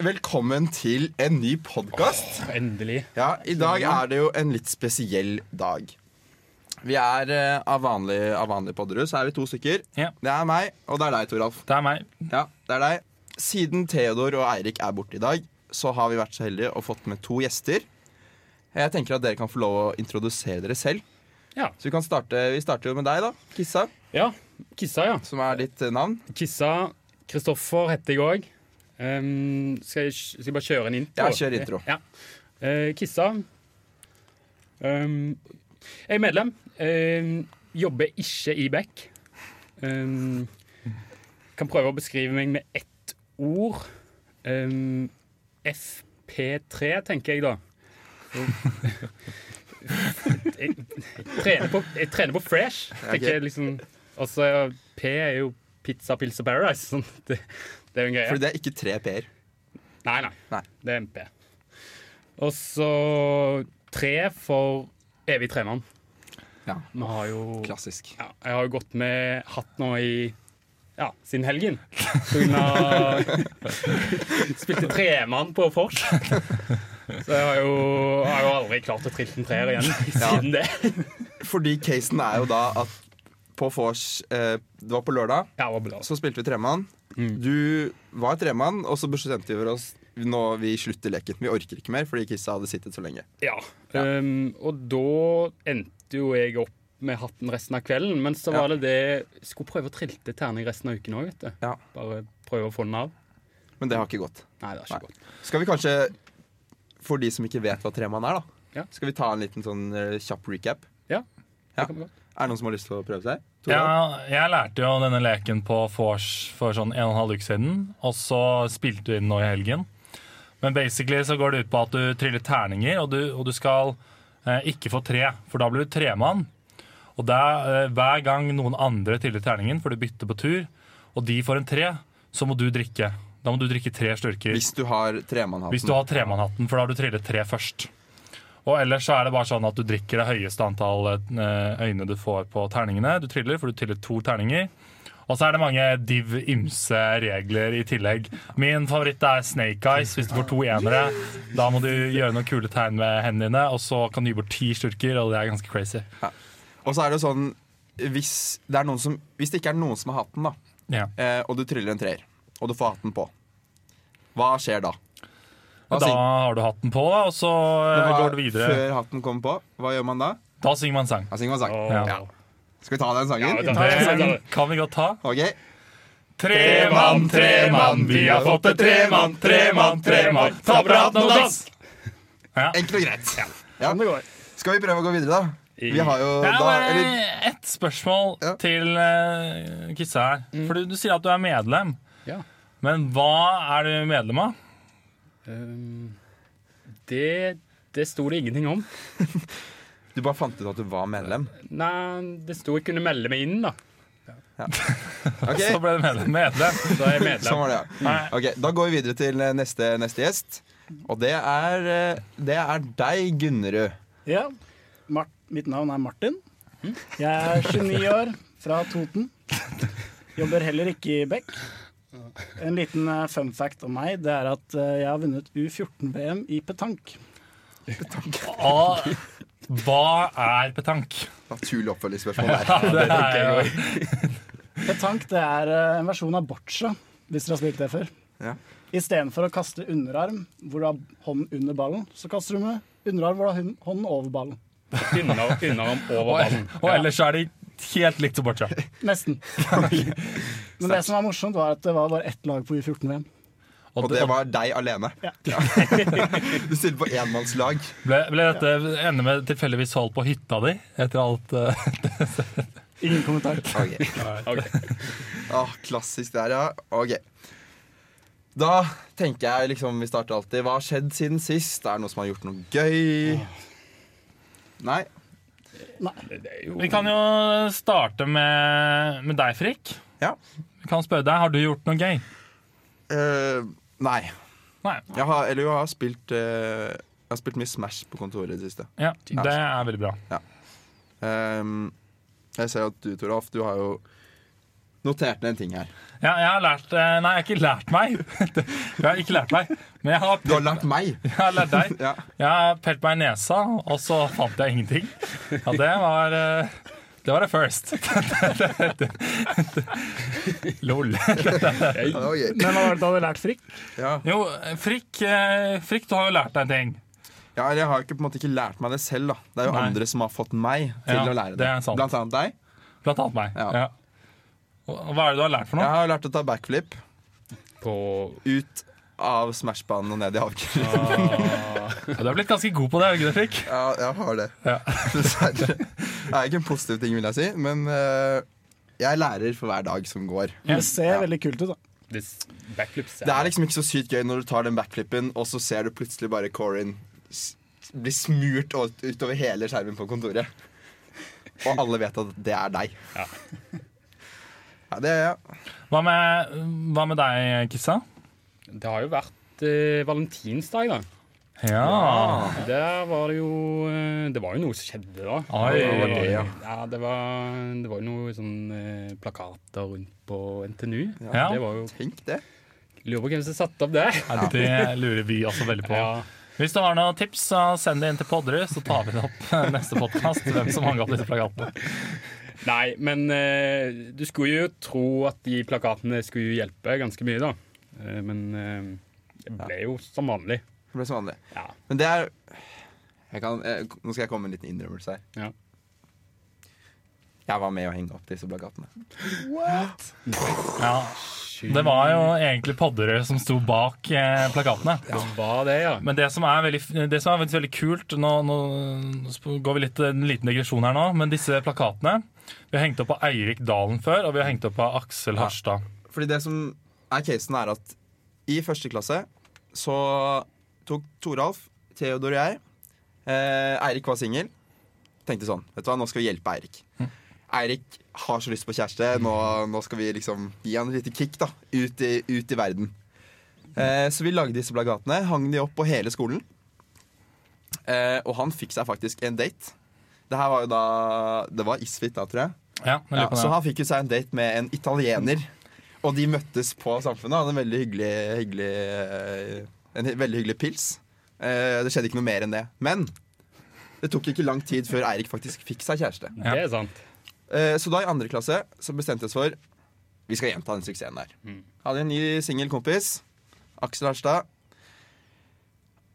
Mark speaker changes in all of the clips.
Speaker 1: Velkommen til en ny podkast.
Speaker 2: Endelig.
Speaker 1: Ja, I dag er det jo en litt spesiell dag. Vi er eh, av vanlig, av vanlig podderud, så er vi to stykker.
Speaker 2: Ja.
Speaker 1: Det er meg, og det er deg, Toralf.
Speaker 2: Det er meg.
Speaker 1: Ja, det er deg. Siden Theodor og Eirik er borte i dag, så har vi vært så heldige og fått med to gjester. Jeg tenker at dere kan få lov å introdusere dere selv.
Speaker 2: Ja.
Speaker 1: Så vi, kan starte, vi starter jo med deg, da. Kissa,
Speaker 2: Ja, Kissa, ja.
Speaker 1: som er ditt eh, navn.
Speaker 2: Kissa. Kristoffer heter jeg òg. skal, jeg- skal jeg bare kjøre en intro?
Speaker 1: Ja, kjør intro.
Speaker 2: Ja. Eh, Kissa. Ehm, jeg er medlem. Ehm, jobber ikke i Beck. Ehm, kan prøve å beskrive meg med ett ord. Ehm, FP3, tenker jeg da. jeg, jeg, trener på, jeg trener på fresh.
Speaker 1: ok.
Speaker 2: Tenker jeg liksom Altså, P er jo Pizza Pills og Paradise. Sånn. Det, det er jo en greie.
Speaker 1: Fordi det er ikke tre p-er.
Speaker 2: Nei, nei.
Speaker 1: Nei.
Speaker 2: Det er MP. Og så tre for evig tremann.
Speaker 1: Ja.
Speaker 2: Vi har jo
Speaker 1: Klassisk.
Speaker 2: ja, Jeg har jo gått med hatt nå i ja, siden helgen. På grunn av Spilte tremann på Fors. Så jeg har jo, jeg har jo aldri klart å trille en treer igjen siden det.
Speaker 1: Fordi casen er jo da at på vors eh, Det var på lørdag,
Speaker 2: Ja, det var bra.
Speaker 1: så spilte vi tremann. Du var tremann, og så bestemte vi for oss nå vi slutter leken. Vi orker ikke mer fordi Kissa hadde sittet så lenge.
Speaker 2: Ja. Um, og da endte jo jeg opp med hatten resten av kvelden. Men så
Speaker 1: Ja.
Speaker 2: var det det jeg skulle prøve å trilte terning resten av uken òg, vet du.
Speaker 1: Ja.
Speaker 2: Bare prøve å få den av.
Speaker 1: Men det har ikke gått.
Speaker 2: Nei, det er ikke
Speaker 1: Nei.
Speaker 2: godt.
Speaker 1: Skal vi kanskje, for de som ikke vet hva tremann er, da,
Speaker 2: Ja.
Speaker 1: skal vi ta en liten sånn eh, kjapp recap?
Speaker 2: Ja.
Speaker 1: Ja.
Speaker 2: Det kan vi godt.
Speaker 1: Er det noen som har lyst til å prøve seg?
Speaker 3: Ja,
Speaker 1: Toralf?
Speaker 3: jeg lærte jo denne leken på vors for sånn en og en halv uke siden, og så spilte vi den nå i helgen. Men basically så går det ut på at du triller terninger, og du, og du skal eh, ikke få tre, for da blir du tremann. Og det er, eh, hver gang noen andre triller terningen, for du bytter på tur, og de får en tre, så må du drikke. Da må du drikke tre slurker.
Speaker 1: Hvis du har tremannhatten.
Speaker 3: Hvis du har tremannhatten, for da har du trillet tre først. Og ellers så er det bare sånn at du drikker det høyeste antall eh, øyne du får på terningene. Du triller, for du triller to terninger. Og så er det mange div ymse regler i tillegg. Min favoritt er Snake Eyes. Hvis du får to enere, da må du gjøre noen kule tegn med hendene dine, og så kan du gi bort ti slurker, og det er ganske crazy.
Speaker 1: Og så er det jo sånn hvis det, er noen som, hvis det ikke er noen som har hatten, da,
Speaker 3: Ja.
Speaker 1: eh, og du tryller en treer, og du får hatten på, hva skjer da? Hva
Speaker 3: Da
Speaker 1: syng-
Speaker 3: har du hatten på, da, og så eh,
Speaker 1: hva-
Speaker 3: går du videre.
Speaker 1: Før hatten kommer på, hva gjør man da?
Speaker 3: Da synger man sang.
Speaker 1: Da synger man sang.
Speaker 2: Åh.
Speaker 3: Ja.
Speaker 1: Skal vi ta den sangen?
Speaker 2: Ja, vi tar-
Speaker 3: Det kan vi godt ta.
Speaker 1: Ok.
Speaker 3: Tremann, tremann, vi har fått et tremann, tremann, tremann. Ta på deg hatten og dans!
Speaker 1: Enkelt og greit. Ja.
Speaker 2: Sånn det går.
Speaker 1: Skal vi prøve å gå videre, da? Vi har jo
Speaker 3: Det er
Speaker 1: da
Speaker 3: bare
Speaker 1: eller,
Speaker 3: eh, ett spørsmål
Speaker 1: Ja.
Speaker 3: til eh, Kissa her. For du, du sier at du er medlem,
Speaker 2: Ja.
Speaker 3: men hva er du medlem av?
Speaker 2: Um, det det sto det ingenting om.
Speaker 1: Du bare fant ut at du var medlem?
Speaker 2: Nei, det sto jeg kunne melde meg inn, da.
Speaker 1: Ok,
Speaker 3: Så ble du medlem. medlem.
Speaker 2: Så er jeg
Speaker 1: Sånn
Speaker 2: medlem.
Speaker 1: var det, ja.
Speaker 3: Nei.
Speaker 1: Ok, Da går vi videre til eh, neste, neste gjest. Og det er, eh, det er deg, Gunnerud.
Speaker 4: Ja. Mart mitt navn er Martin. Jeg er 29 år, fra Toten. Jobber heller ikke i Beck. En liten eh, fun fact om meg, det er at eh, jeg har vunnet U14-VM i petank.
Speaker 3: Og hva er petank?
Speaker 1: Naturlig oppfølgingsspørsmål der.
Speaker 3: Det er jo
Speaker 4: Petank det er eh, en versjon av boccia, hvis dere har spilt det før.
Speaker 1: Ja.
Speaker 4: Istedenfor å kaste underarm hvor du har hånden under ballen, så kaster du med underarm hvor du har hun- hånden over ballen.
Speaker 2: Unna, unna om over
Speaker 3: og,
Speaker 2: ballen.
Speaker 3: og ellers er de helt likt som Borcha.
Speaker 4: Nesten. Men det som var morsomt, var at det var bare ett lag på U14-VM.
Speaker 3: Og,
Speaker 1: Og det var deg alene.
Speaker 4: Ja.
Speaker 1: Du stilte på enmannslag.
Speaker 3: ble, ble dette ende med tilfeldigvis holdt på hytta di etter alt eh,
Speaker 4: Ingen kommentar.
Speaker 1: Okay.
Speaker 2: Ok.
Speaker 1: Ah, klassisk der, ja. Ok. Da tenker jeg liksom vi starter alltid. Hva har skjedd siden sist? Er det noe som har gjort noe gøy? Nei?
Speaker 2: Det er jo
Speaker 3: Vi kan jo starte med, med deg, Frikk.
Speaker 1: Ja.
Speaker 3: Vi kan spørre deg, Har du gjort noe gøy?
Speaker 1: Eh, nei.
Speaker 3: Nei.
Speaker 1: Jeg har, eller jo, jeg har spilt eh, Jeg har spilt mye Smash på kontoret i det siste.
Speaker 3: Ja, det er veldig bra.
Speaker 1: Ehm, jeg ser at du, Toralf, du har jo notert ned en ting her.
Speaker 3: Ja, jeg har lært eh, Nei, jeg har ikke lært meg. Jeg har ikke lært meg, men jeg har,
Speaker 1: Du har lært meg!
Speaker 3: jeg har lært deg.
Speaker 1: Ja.
Speaker 3: Jeg har pelt meg i nesa, og så fant jeg ingenting. Ja, det var eh, Det var det first. Lol.
Speaker 1: Ok.
Speaker 4: Men hva var det du hadde lært, Frikk?
Speaker 1: Ja.
Speaker 3: Jo, Frikk, eh, Frikk, du har jo lært deg en ting.
Speaker 1: ja, eller jeg har ikke, på en måte ikke lært meg det selv, da. Det er jo
Speaker 3: Nei.
Speaker 1: andre som har fått meg til
Speaker 3: Ja,
Speaker 1: å lære det.
Speaker 3: det er sant.
Speaker 1: Blant annet deg.
Speaker 3: Blant annet meg.
Speaker 1: Ja.
Speaker 3: Ja. Og Hva er det du har lært for
Speaker 1: Jeg
Speaker 3: noe?
Speaker 1: har lært å ta backflip
Speaker 2: På
Speaker 1: ut av Smash-banen og ned i hagen.
Speaker 3: Ah. Ja, Du er blitt ganske god på det, er du ikke det, Frikk?
Speaker 1: Ja, jeg har det.
Speaker 3: Ja.
Speaker 1: Dessverre. Det er ikke en positiv ting, vil jeg si, men eh, jeg lærer for hver dag som går.
Speaker 4: Det ser
Speaker 1: Ja.
Speaker 4: veldig kult ut, da.
Speaker 2: this backflips.
Speaker 1: Det er liksom ikke så sykt gøy når du tar den backflippen, og så ser du plutselig bare Corin s- bli smurt o- utover hele skjermen på kontoret. Og alle vet at det er deg.
Speaker 2: Ja.
Speaker 1: Ja, det er jeg.
Speaker 3: Hva med, hva med deg, Kissa?
Speaker 2: Det har jo vært eh, valentinsdag, da.
Speaker 3: Ja.
Speaker 2: Der var det jo eh, Det var jo noe som skjedde da.
Speaker 3: Oi.
Speaker 2: det var,
Speaker 1: Ja.
Speaker 2: ja, det var, det var jo noe sånn eh, plakater rundt på NTNU.
Speaker 3: Ja.
Speaker 2: Det var jo
Speaker 1: Tenk det.
Speaker 2: Lurer på hvem som satte opp det.
Speaker 3: Ja, det lurer vi også veldig på.
Speaker 2: Ja.
Speaker 3: Hvis du har noen tips, så send det inn til Podderud, så tar vi det opp neste podkast. Hvem som hang opp disse plakatene.
Speaker 2: Nei, men eh, du skulle jo tro at de plakatene skulle hjelpe ganske mye, da. Eh, men eh, det ble jo som vanlig.
Speaker 1: Det ble som vanlig.
Speaker 2: Ja.
Speaker 1: Men det er jeg kan, eh, Nå skal jeg komme med en liten innrømmelse her.
Speaker 2: Ja.
Speaker 1: Jeg var med å henge opp disse plakatene.
Speaker 3: Ja, Det var jo egentlig Podderud som sto bak eh, plakatene.
Speaker 2: Det var det, ja.
Speaker 3: Men det som er veldig, det som er faktisk veldig kult nå, nå sp- går vi litt til en liten digresjon her nå, men disse plakatene Vi har hengt opp av Eirik Dalen før, og vi har hengt opp av Aksel Harstad.
Speaker 1: Fordi det som er casen, er at i første klasse så tok Toralf, Theodor og jeg eh, Eirik var singel. Tenkte sånn Vet du hva, nå skal vi hjelpe Eirik. Eirik har så lyst på kjæreste. Nå, nå skal vi liksom gi han et lite kick da ut i, ut i verden. Eh, så vi lagde disse plagatene, hang de opp på hele skolen. Eh, og han fikk seg faktisk en date. Det her var jo da Det var Isfit da, tror jeg.
Speaker 3: Ja, jeg
Speaker 1: Ja,
Speaker 3: lurer på
Speaker 1: så
Speaker 3: det.
Speaker 1: han fikk jo seg en date med en italiener. Og de møttes på Samfunnet. Hadde en veldig hyggelig, hyggelig eh, En he- veldig hyggelig pils. Eh, Det skjedde ikke noe mer enn det. Men det tok ikke lang tid før Eirik faktisk fikk seg kjæreste.
Speaker 3: Ja.
Speaker 2: Det er sant.
Speaker 1: Eh, Så da i andre klasse så bestemte vi oss for Vi skal gjenta den suksessen der. Hadde en ny singel kompis. Aksel Harstad.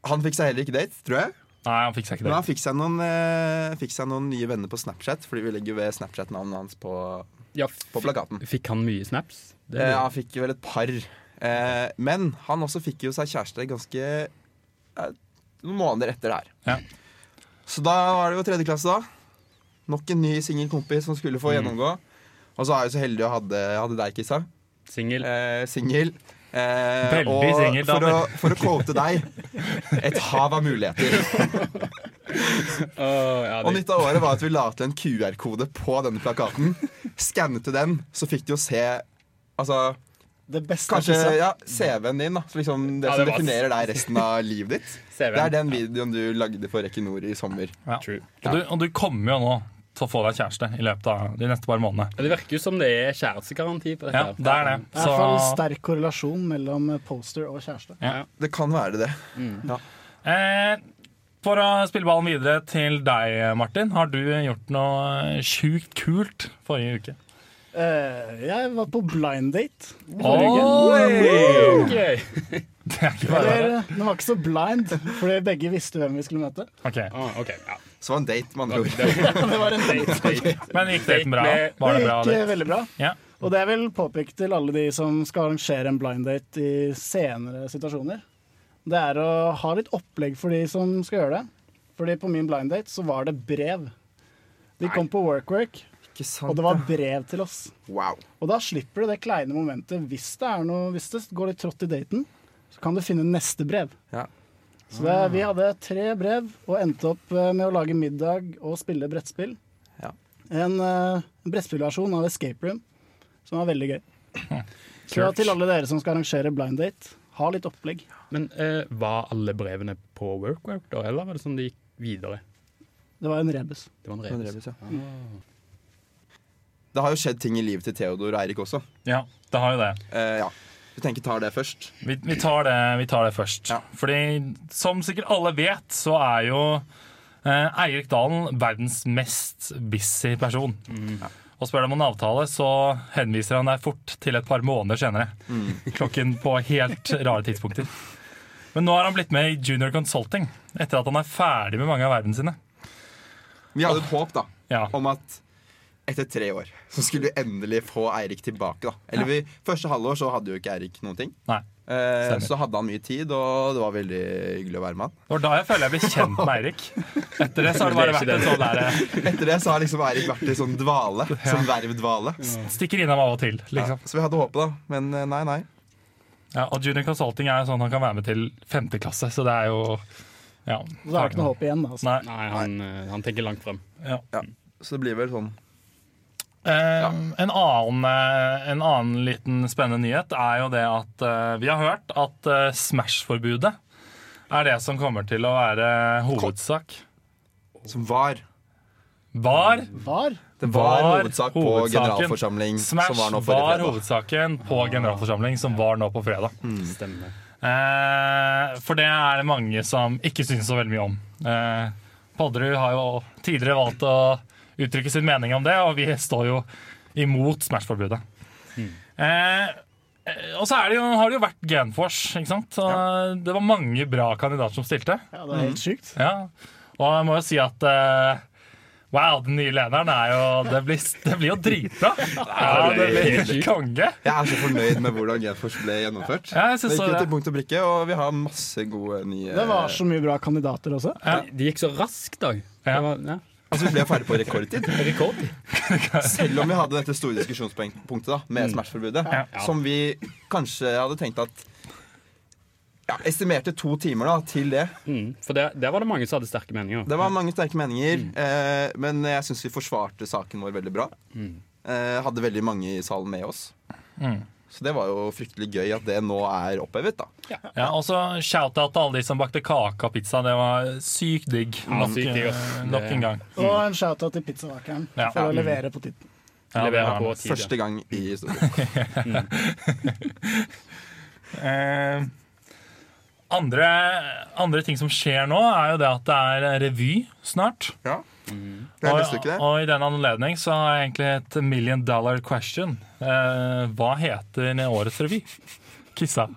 Speaker 1: Han fikk seg heller ikke date, tror jeg.
Speaker 3: Nei, han fikk seg ikke
Speaker 1: Men han
Speaker 3: det.
Speaker 1: fikk seg noen, eh, fikk seg noen nye venner på Snapchat, fordi vi legger jo ved Snapchat-navnet hans på,
Speaker 2: Ja,
Speaker 1: på plakaten.
Speaker 2: fikk han mye snaps? Det
Speaker 3: Mm.
Speaker 1: Eh, han fikk vel et par. Eh, men han også fikk jo seg kjæreste ganske eh, noen måneder etter det her.
Speaker 3: Ja.
Speaker 1: Så da var det jo tredje klasse, da. Nok en ny singel kompis som skulle
Speaker 3: Mm.
Speaker 1: få gjennomgå. Og så er jeg så heldig å hadde, hadde deg, Kissa.
Speaker 2: Singel.
Speaker 1: Eh, singel. Eh,
Speaker 3: Veldig
Speaker 1: og
Speaker 3: singel, da,
Speaker 1: for, å, for å quote deg et hav av muligheter.
Speaker 2: Å, ja,
Speaker 1: Og
Speaker 2: det-
Speaker 1: nytt av året var at vi la til en QR-kode på denne plakaten. Skannet du den, så fikk du jo se Altså
Speaker 4: Det beste
Speaker 1: Kanskje Mm.
Speaker 4: skissa.
Speaker 1: ja, CV-en din, da. Så liksom det
Speaker 2: Ja,
Speaker 1: som
Speaker 2: det var-
Speaker 1: definerer deg resten av livet ditt.
Speaker 2: CV-en.
Speaker 1: Det er den videoen du lagde for Equinor i sommer.
Speaker 3: Ja.
Speaker 2: True.
Speaker 3: Og, du, og du kommer jo nå til å få deg kjæreste i løpet av de neste par månedene.
Speaker 2: Ja, Det virker jo som det er kjærestegaranti på dette.
Speaker 3: Ja,
Speaker 2: her.
Speaker 3: det er det.
Speaker 4: Det er i hvert fall sterk korrelasjon mellom eh, poster og kjæreste.
Speaker 1: Det kan være det.
Speaker 2: Mm.
Speaker 1: Ja.
Speaker 3: Eh, for å spille ballen videre til deg, Martin. Har du gjort noe sjukt kult forrige uke?
Speaker 4: Eh, jeg var på blind date.
Speaker 3: Oi!
Speaker 2: Ok.
Speaker 3: Det er ikke bare
Speaker 4: Eller, eh, den var ikke så blind, fordi begge visste hvem vi skulle møte.
Speaker 3: Ok,
Speaker 2: Ah, ok, ja.
Speaker 1: Så var det en date, med andre ord.
Speaker 4: Det var en date.
Speaker 3: Men gikk daten bra? Var det bra?
Speaker 4: gikk eh,
Speaker 3: date?
Speaker 4: veldig bra.
Speaker 3: Ja.
Speaker 4: Og det jeg vil påpeke til alle de som skal arrangere en blind date i senere situasjoner, det er å ha litt opplegg for de som skal gjøre det. Fordi på min blind date så var det brev. De kom på WorkWork,
Speaker 1: Ikke
Speaker 4: og
Speaker 1: sant?
Speaker 4: det var brev til oss.
Speaker 1: Wow.
Speaker 4: Og da slipper du det kleine momentet hvis det, er noe, hvis det går litt trått i daten. Så kan du finne neste brev.
Speaker 1: Ja.
Speaker 4: Så
Speaker 3: Ah.
Speaker 4: det, vi hadde tre brev og endte opp eh, med å lage middag og spille brettspill.
Speaker 1: Ja.
Speaker 4: En, eh, en brettspillversjon av Escape Room, som var veldig gøy. Så
Speaker 3: Kult.
Speaker 4: til alle dere som skal arrangere blind date, ha litt opplegg.
Speaker 2: Men eh, var alle brevene på Workwork, da, eller var det sånn de gikk videre?
Speaker 4: Det var en rebus.
Speaker 2: Det var en
Speaker 1: Men
Speaker 2: rebus.
Speaker 1: rebus, ja.
Speaker 2: Ah.
Speaker 1: Det har jo skjedd ting i livet til Theodor og Eirik også.
Speaker 3: Ja, det har jo det.
Speaker 1: Eh, ja. Vi tenker tar det først.
Speaker 3: Vi, vi, tar, det, vi tar det først.
Speaker 1: Ja.
Speaker 3: Fordi som sikkert alle vet, så er jo eh, Eirik Dalen verdens mest busy person. Og spør du om en avtale, så henviser han deg fort til et par måneder senere. Klokken på helt rare tidspunkter. Men nå har han blitt med i Junior Consulting etter at han er ferdig med mange av vervene sine.
Speaker 1: Vi hadde et
Speaker 2: Ah.
Speaker 1: håp da
Speaker 3: Ja,
Speaker 1: om at etter tre år så skulle vi endelig få Eirik tilbake. da Eller vi, Første halvår så hadde jo ikke Eirik noen ting.
Speaker 3: nei.
Speaker 1: Eh,
Speaker 3: Stemmer.
Speaker 1: så hadde han mye tid, og det var veldig hyggelig å være med han.
Speaker 3: Det var da jeg føler jeg ble kjent med Eirik. Etter det så har det bare vært en sånn der eh,
Speaker 1: Etter det så har liksom Eirik vært i sånn dvale. Sånn vervdvale.
Speaker 3: stikker innom av og til,
Speaker 1: Ja,
Speaker 3: liksom.
Speaker 1: så vi hadde håpet, da. Men eh, nei, nei.
Speaker 3: Ja, og junior consulting er jo sånn at han kan være med til femte klasse, så det er jo ja.
Speaker 4: Så da er det ikke noe håp igjen. Altså.
Speaker 3: Nei.
Speaker 2: Nei, han, eh, han tenker langt frem.
Speaker 3: Ja.
Speaker 1: Så det blir vel sånn
Speaker 3: Eh, en, annen, eh, en annen liten spennende nyhet er jo det at eh, vi har hørt at eh, Smash-forbudet er det som kommer til å være hovedsak.
Speaker 1: som var.
Speaker 3: Var
Speaker 4: Var?
Speaker 1: Det var,
Speaker 3: Var
Speaker 1: hovedsak på
Speaker 3: hovedsaken.
Speaker 1: generalforsamling
Speaker 3: Smash
Speaker 1: som var nå
Speaker 3: var
Speaker 1: forrige fredag.
Speaker 3: hovedsaken på generalforsamling, som var nå på fredag.
Speaker 2: Stemmer.
Speaker 3: Eh, for det er det mange som ikke synes så veldig mye om. Eh, Podderud har jo tidligere valgt å uttrykke sin mening om det, og vi står jo imot Smash-forbudet. Eh, eh, og så er det jo, har det jo vært Genforce, ikke sant? Og Det var mange bra kandidater som stilte.
Speaker 4: Ja, det er helt
Speaker 3: Mm.
Speaker 4: sykt.
Speaker 3: Ja. Og jeg må jo si at eh, Wow, den nye lederen er jo Det blir, det blir jo dritbra! Ja, det blir helt konge.
Speaker 1: Jeg er så fornøyd med hvordan GFors ble gjennomført.
Speaker 3: Ja, jeg
Speaker 1: det
Speaker 3: synes
Speaker 1: gikk jo
Speaker 3: det.
Speaker 1: til punkt og brikke, og vi har masse gode nye
Speaker 4: Det var så mye bra kandidater også.
Speaker 3: Ja.
Speaker 2: De, de gikk så raskt, da. Det
Speaker 3: Ja.
Speaker 2: var ja,
Speaker 1: Altså, vi ble ferdig på rekordtid.
Speaker 2: rekord.
Speaker 1: Selv om vi hadde dette store diskusjonspunktet da, med Smash-forbudet, som vi kanskje hadde tenkt at ja, Estimerte to timer da, til det.
Speaker 2: Mm, for der, der var det mange som hadde sterke meninger.
Speaker 1: Det var mange sterke meninger,
Speaker 2: Mm.
Speaker 1: eh, men jeg syns vi forsvarte saken vår veldig bra.
Speaker 2: Mm.
Speaker 1: Eh, hadde veldig mange i salen med oss.
Speaker 3: Mm.
Speaker 1: Så det var jo fryktelig gøy at det nå er opphevet, da.
Speaker 3: Ja, og så shout-out til alle de som bakte kake og pizza. Det var sykt digg.
Speaker 2: Ja,
Speaker 3: nok,
Speaker 2: Mm, sykt digg, ass.
Speaker 3: eh, nok
Speaker 2: Det-
Speaker 3: en gang.
Speaker 4: Og en shout-out til pizzavakeren
Speaker 3: Ja.
Speaker 4: for å
Speaker 2: Ja.
Speaker 4: levere på tiden.
Speaker 3: Ja, det var
Speaker 2: Leverer
Speaker 3: det.
Speaker 2: på tid.
Speaker 1: Første gang
Speaker 2: Mm.
Speaker 1: i historien.
Speaker 3: Eh, andre, andre ting som skjer nå, er jo det at det er eh, revy snart.
Speaker 1: Ja. Det er neste
Speaker 3: Og,
Speaker 1: uke, det.
Speaker 3: og i den anledning så har jeg egentlig et million dollar question. Eh, hva heter årets revy? Kissa.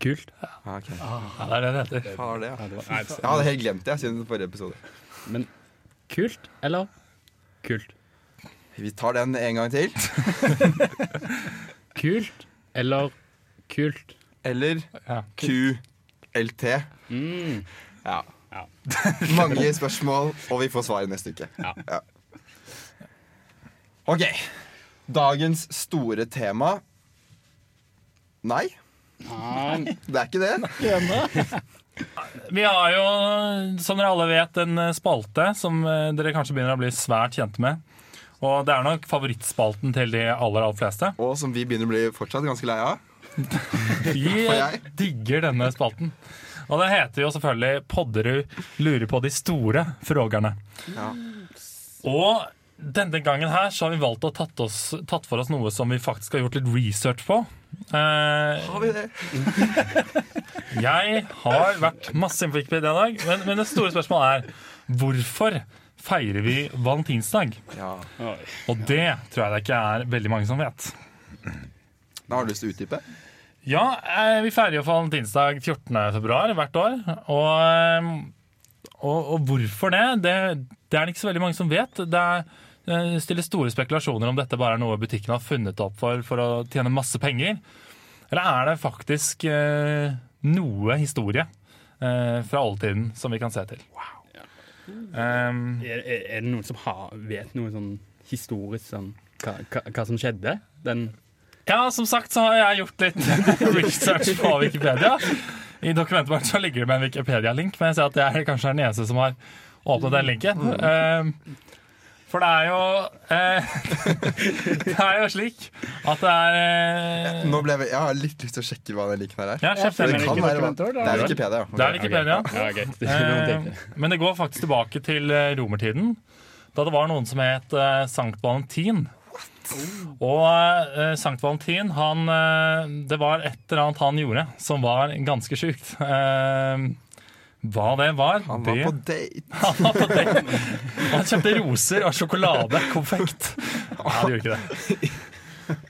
Speaker 3: Kult.
Speaker 1: Ja, Ah, ok.
Speaker 3: Ja, det er det det heter.
Speaker 1: Hva var det, ja?
Speaker 2: Ja, det var, nei,
Speaker 1: Jeg hadde helt glemt det jeg, siden forrige episode.
Speaker 2: men kult, eller? Kult.
Speaker 1: Vi tar den en gang til.
Speaker 2: Kult eller kult?
Speaker 1: Eller
Speaker 3: Ja.
Speaker 1: QLT.
Speaker 2: Mm.
Speaker 1: Ja.
Speaker 2: Ja.
Speaker 1: Mange spørsmål, og vi får svaret neste uke.
Speaker 2: Ja.
Speaker 1: OK. Dagens store tema Nei,
Speaker 4: Nei,
Speaker 1: det er ikke det.
Speaker 4: ikke ennå.
Speaker 3: Vi har jo, som dere alle vet, en spalte som eh, dere kanskje begynner å bli svært kjent med. Og det er nok favorittspalten til de aller aller fleste.
Speaker 1: Og som vi begynner å bli fortsatt ganske lei av.
Speaker 3: Vi
Speaker 1: jeg?
Speaker 3: digger denne spalten. Og det heter jo selvfølgelig 'Podderud lurer på de store frågerne'.
Speaker 1: Ja.
Speaker 3: Og denne gangen her så har vi valgt å tatt, oss, tatt for oss noe som vi faktisk har gjort litt research på. Eh,
Speaker 1: Har vi det?
Speaker 3: Jeg har vært masse inne på Wikipedia i dag, men, men det store spørsmålet er hvorfor feirer vi valentinsdag?
Speaker 1: Ja.
Speaker 2: Oi.
Speaker 3: Og det tror jeg det ikke er veldig mange som vet.
Speaker 1: Da har du lyst til å utdype?
Speaker 3: Ja, eh, vi feirer jo valentinsdag 14. februar hvert år, og, eh, og, og hvorfor det? det? Det er det ikke så veldig mange som vet. Det er, eh, stilles store spekulasjoner om dette bare er noe butikken har funnet opp for for å tjene masse penger, eller er det faktisk eh, noe historie eh, fra oldtiden som vi kan se til? Ehm,
Speaker 2: Er, er, er det noen som har, vet noe sånn historisk sånn hva, hva, hva som skjedde? Den
Speaker 3: Ja, som sagt så har jeg gjort litt research på Wikipedia. I dokumentet vårt så ligger det med en
Speaker 2: Mm.
Speaker 3: Wikipedia-link, men jeg ser at jeg er kanskje den eneste som har åpnet den linken. Eh, For For det er jo eh, Det er jo slik at det er eh,
Speaker 1: Nå ble jeg, ve- jeg har litt lyst til å sjekke hva den linken her er.
Speaker 3: ja, sjef,
Speaker 1: Det
Speaker 3: det,
Speaker 4: Men
Speaker 1: kan være
Speaker 4: hvilke
Speaker 1: hva-
Speaker 4: dokumenter, da?
Speaker 1: Det er Wikipedia. ja.
Speaker 3: det er Wikipedia.
Speaker 2: Ok, Ja, greit. Det er noen ting.
Speaker 3: Eh, men det går faktisk tilbake til eh, romertiden, da det var noen som het eh, Sankt Valentin. Og eh, Sankt Valentin, han eh, Det var et eller annet han gjorde som var ganske sjukt. Eh, hva det var,
Speaker 1: Han var
Speaker 3: det
Speaker 1: på date.
Speaker 3: Han var på date. Han kjøpte roser og sjokolade. Konfekt. Nei, det gjorde ikke det.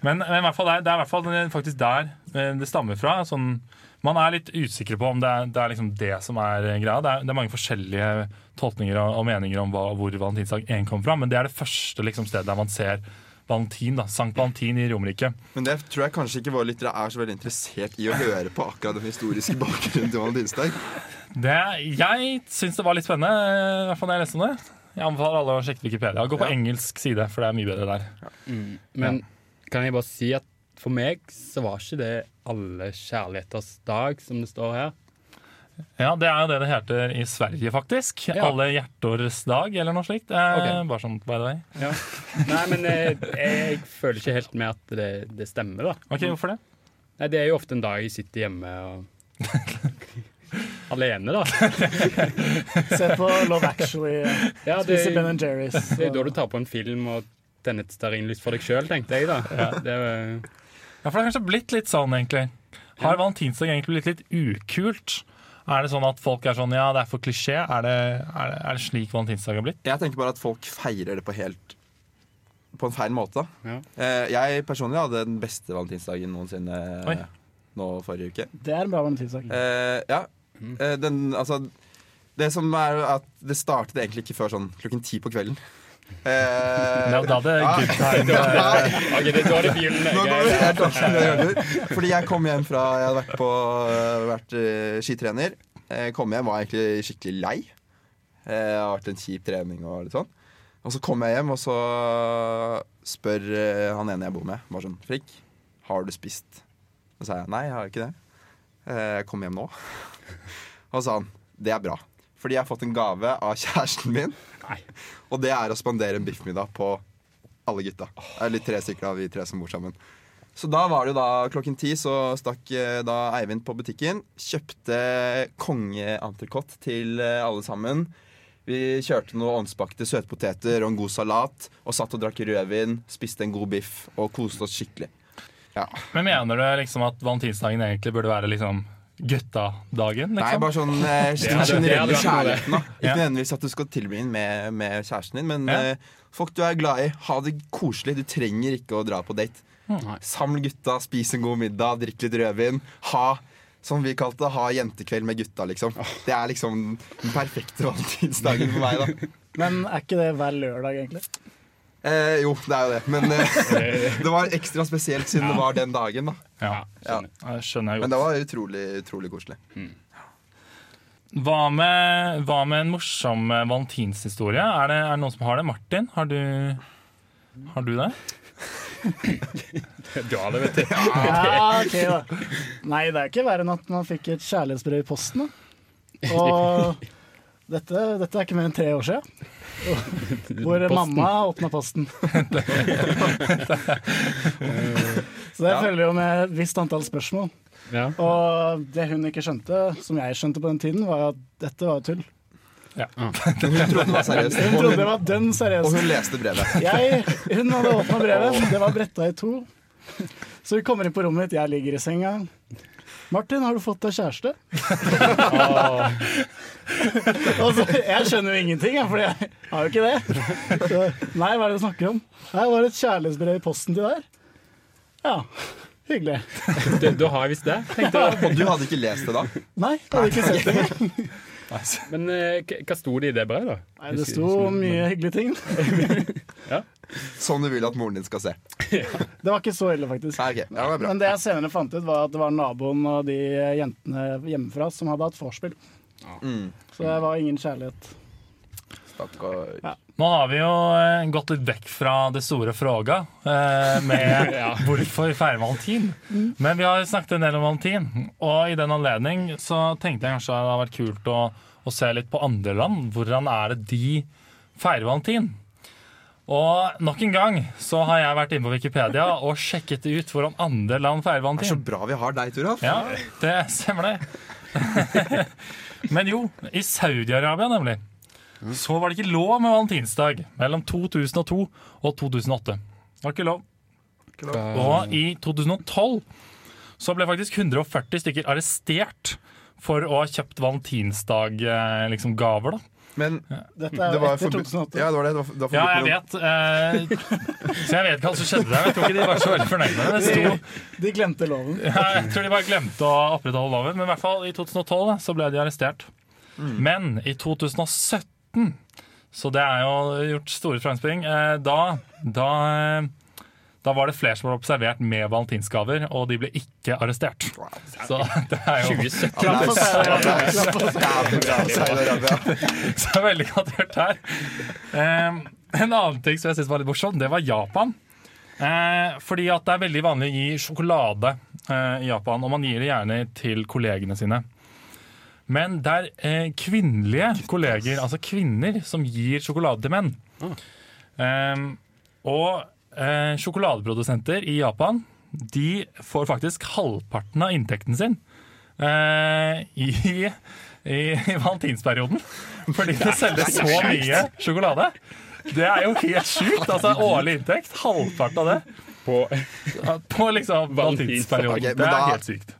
Speaker 3: Men, men i hvert fall der, det er i hvert fall faktisk der eh, det stammer fra. Sånn, man er litt usikker på om det er det, er liksom det som er greia. Det er, det er mange forskjellige tolkninger og, og meninger om hva, hvor valentinsdag én kom fra, men det er det første liksom, stedet der man ser Valentin, da, Sankt Valentin i Romerike.
Speaker 1: Men det tror jeg kanskje ikke våre lyttere er så veldig interessert i å høre på akkurat den historiske bakgrunnen til valentinsdag.
Speaker 3: Det, jeg syns det var litt spennende, eh, i hvert fall når jeg leste om det. Jeg anbefaler alle å sjekke Wikipedia. Gå på
Speaker 1: Ja.
Speaker 3: engelsk side, for det er mye bedre der.
Speaker 2: Men kan jeg bare si at for meg så var ikke det alle kjærligheters dag, som det står her.
Speaker 3: Ja, det er jo det det heter i Sverige, faktisk.
Speaker 2: Ja.
Speaker 3: Alle hjertors dag, eller noe slikt. Eh,
Speaker 2: Ok.
Speaker 3: Bare sånn, by the way.
Speaker 2: Ja. Nei, men jeg, jeg føler ikke helt med at det, det stemmer, da.
Speaker 3: Ok, Hvorfor det?
Speaker 2: Nei, det er jo ofte en dag jeg sitter hjemme og Alene, da.
Speaker 4: Se på Love Actually.
Speaker 2: Ja, det,
Speaker 4: Spise Ben Jerry's.
Speaker 2: det er jo da du tar på en film og tenner et stearinlys for deg sjøl, tenkte jeg, da. Det er- eh,
Speaker 3: Ja, For det har kanskje blitt litt sånn, egentlig. Har valentinsdag egentlig blitt litt ukult? Er det sånn at folk er sånn ja, det er for klisjé? Er det, er det, er det slik valentinsdag har blitt?
Speaker 1: Jeg tenker bare at folk feirer det på helt På en feil måte. da.
Speaker 2: Ja.
Speaker 1: Eh, Jeg personlig hadde den beste valentinsdagen noensinne
Speaker 3: Oi.
Speaker 1: nå forrige uke.
Speaker 4: Det er en bra valentinsdag.
Speaker 1: Eh, ja.
Speaker 3: Mm.
Speaker 1: Eh, den, altså, det som er at det startet egentlig ikke før sånn klokken ti på kvelden. Eh,
Speaker 3: Det er jo da det
Speaker 1: ja.
Speaker 3: good time.
Speaker 1: Nei,
Speaker 2: OK, det er da det begynner.
Speaker 1: nå går vi
Speaker 2: jeg-
Speaker 1: helt opp til hjørner. Fordi jeg kom hjem fra Jeg hadde vært, på, eh, vært eh, skitrener. Eh, kom hjem var egentlig skikkelig lei. Eh, Det har vært en kjip trening og litt sånn. Og så kom jeg hjem, og så spør eh, han ene jeg bor med, bare sånn Frikk, har du spist? Så sa jeg nei, jeg har ikke det. Eh, Jeg kom hjem nå. Og sa han det er bra. Fordi jeg har fått en gave av kjæresten min.
Speaker 2: Nei.
Speaker 1: Og det er å spandere en biffmiddag på alle gutta. Eller tre stykker av vi tre som bor sammen. Så da var det jo da klokken ti, så stakk eh, da Eivind på butikken. Kjøpte kongeentrecôte til eh, alle sammen. Vi kjørte noen ovnsbakte søtpoteter og en god salat. Og satt og drakk rødvin, spiste en god biff og koste oss skikkelig.
Speaker 3: Men mener du liksom at valentinsdagen egentlig burde være liksom gutta-dagen? Liksom?
Speaker 1: Nei, bare sånn eh,
Speaker 2: hadde-
Speaker 1: den
Speaker 2: det hadde
Speaker 1: generelle
Speaker 2: vært noe, det.
Speaker 1: kjærligheten. da. Ikke
Speaker 3: Ja.
Speaker 1: nødvendigvis at du skal tilbringe den med, med kjæresten din, men
Speaker 3: Ja.
Speaker 1: eh, folk du er glad i, ha det koselig. Du trenger ikke å dra på date.
Speaker 2: Nei.
Speaker 1: Samle gutta, spis en god middag, drikk litt rødvin. Ha som vi kalte det, ha jentekveld med gutta, liksom. Det er liksom den perfekte valentinsdagen for meg, da.
Speaker 4: Men er ikke det hver lørdag, egentlig?
Speaker 1: Eh, jo, det er jo det, men eh, det var ekstra spesielt siden det var den dagen, da.
Speaker 3: Ja,
Speaker 1: Ja.
Speaker 3: det skjønner jeg godt.
Speaker 1: Men det var utrolig, utrolig koselig.
Speaker 3: Hva med, hva med en morsom eh, valentinshistorie? Er det, er det noen som har det? Martin, har du, har du det?
Speaker 2: Du har det, vet du.
Speaker 4: Ja, ok da. Nei, det er ikke verre enn at man fikk et kjærlighetsbrev i posten. Da. Og dette, dette er ikke mer enn tre år siden. Hvor
Speaker 2: Posten.
Speaker 4: mamma åpna posten. Så det
Speaker 1: Ja.
Speaker 4: følger jo med et visst antall spørsmål.
Speaker 2: Ja.
Speaker 4: Og det hun ikke skjønte, som jeg skjønte på den tiden, var at dette var tull.
Speaker 1: Hun trodde det var seriøst,
Speaker 4: Hun
Speaker 1: og
Speaker 4: trodde det
Speaker 1: hun,
Speaker 4: var dønn seriøst.
Speaker 1: og hun leste brevet.
Speaker 4: Jeg, hun hadde åpna brevet, det var bretta i to. Så vi kommer inn på rommet mitt, jeg ligger i senga. Martin, har du fått deg kjæreste? Og så, jeg skjønner jo ingenting, for jeg har jo ikke det. Så, nei, hva er det du snakker om? Nei, det var et kjærlighetsbrev i posten til deg. Ja, hyggelig.
Speaker 2: Da, da har jeg visst det, tenkte jeg.
Speaker 1: Og du hadde ikke lest det da?
Speaker 4: Nei, jeg hadde ikke sett det. engang.
Speaker 2: Men eh, k- hva sto det i det brevet, da?
Speaker 4: Nei, det sto mye hyggelige ting.
Speaker 1: Sånn du vil at moren din skal se.
Speaker 4: Det var ikke så ille, faktisk.
Speaker 1: Nei, ok, ja, det er bra
Speaker 4: Men det jeg senere fant ut, var at det var naboen og de jentene hjemmefra som hadde hatt vorspiel.
Speaker 1: Mm.
Speaker 4: Så det var ingen kjærlighet.
Speaker 1: Stakkar.
Speaker 3: Nå har vi jo eh, gått litt vekk fra det store fråga eh, med hvorfor feire valentin. Men vi har snakket en del om valentin, og i den anledning så tenkte jeg kanskje det hadde vært kult å, å se litt på andre land. Hvordan er det de feirer valentin? Og nok en gang så har jeg vært inne på Wikipedia og sjekket ut hvordan andre land feirer
Speaker 1: Det er så
Speaker 3: valentin.
Speaker 1: bra vi har deg, Toralf.
Speaker 3: Ja, det stemmer det. Men jo, i Saudi-Arabia nemlig, så var det ikke lov med valentinsdag mellom 2002 og 2008. Det var ikke lov. Og i 2012 så ble faktisk 140 stykker arrestert for å ha kjøpt valentinsdag-gaver. Liksom, gaver, da.
Speaker 1: Men
Speaker 4: Dette
Speaker 1: det
Speaker 4: er jo
Speaker 1: var
Speaker 4: etter
Speaker 1: forbudt.
Speaker 4: 2008.
Speaker 1: Ja, det var det. det, var, det var
Speaker 3: Ja,
Speaker 1: forbudt
Speaker 3: jeg
Speaker 1: med-
Speaker 3: vet. Eh, så jeg vet ikke hva som skjedde der. men Jeg tror ikke de var så veldig fornøyd med det. det sto,
Speaker 4: De glemte loven.
Speaker 3: jeg tror de bare glemte å opprettholde loven. Men i hvert fall i 2012 da, så ble de arrestert. Men i 2017, så det er jo gjort store framspring, eh, da, da, eh, da var det flere som ble observert med valentinsgaver, og de ble ikke arrestert. Så det er jo
Speaker 2: 2017.
Speaker 1: Ja, det er-
Speaker 4: Klapp for
Speaker 1: det er bra, Saudi-Arabia.
Speaker 3: så veldig godt hørt her. Eh, en annen ting som jeg synes var litt morsom, det var Japan. Eh, fordi at det er veldig vanlig å gi sjokolade eh, i Japan, og man gir det gjerne til kollegene sine. Men det er eh, kvinnelige kolleger, altså kvinner, som gir sjokolade til menn. Eh, og eh, sjokoladeprodusenter i Japan de får faktisk halvparten av inntekten sin eh, i, i, i valentinsperioden. Fordi det selges så mye sjokolade. Det er jo helt sjukt! Altså, årlig inntekt, halvparten av det.
Speaker 2: På,
Speaker 3: På liksom
Speaker 1: Ok,
Speaker 3: valentinsperioden.
Speaker 1: men
Speaker 3: Det
Speaker 1: da-
Speaker 3: er helt sykt.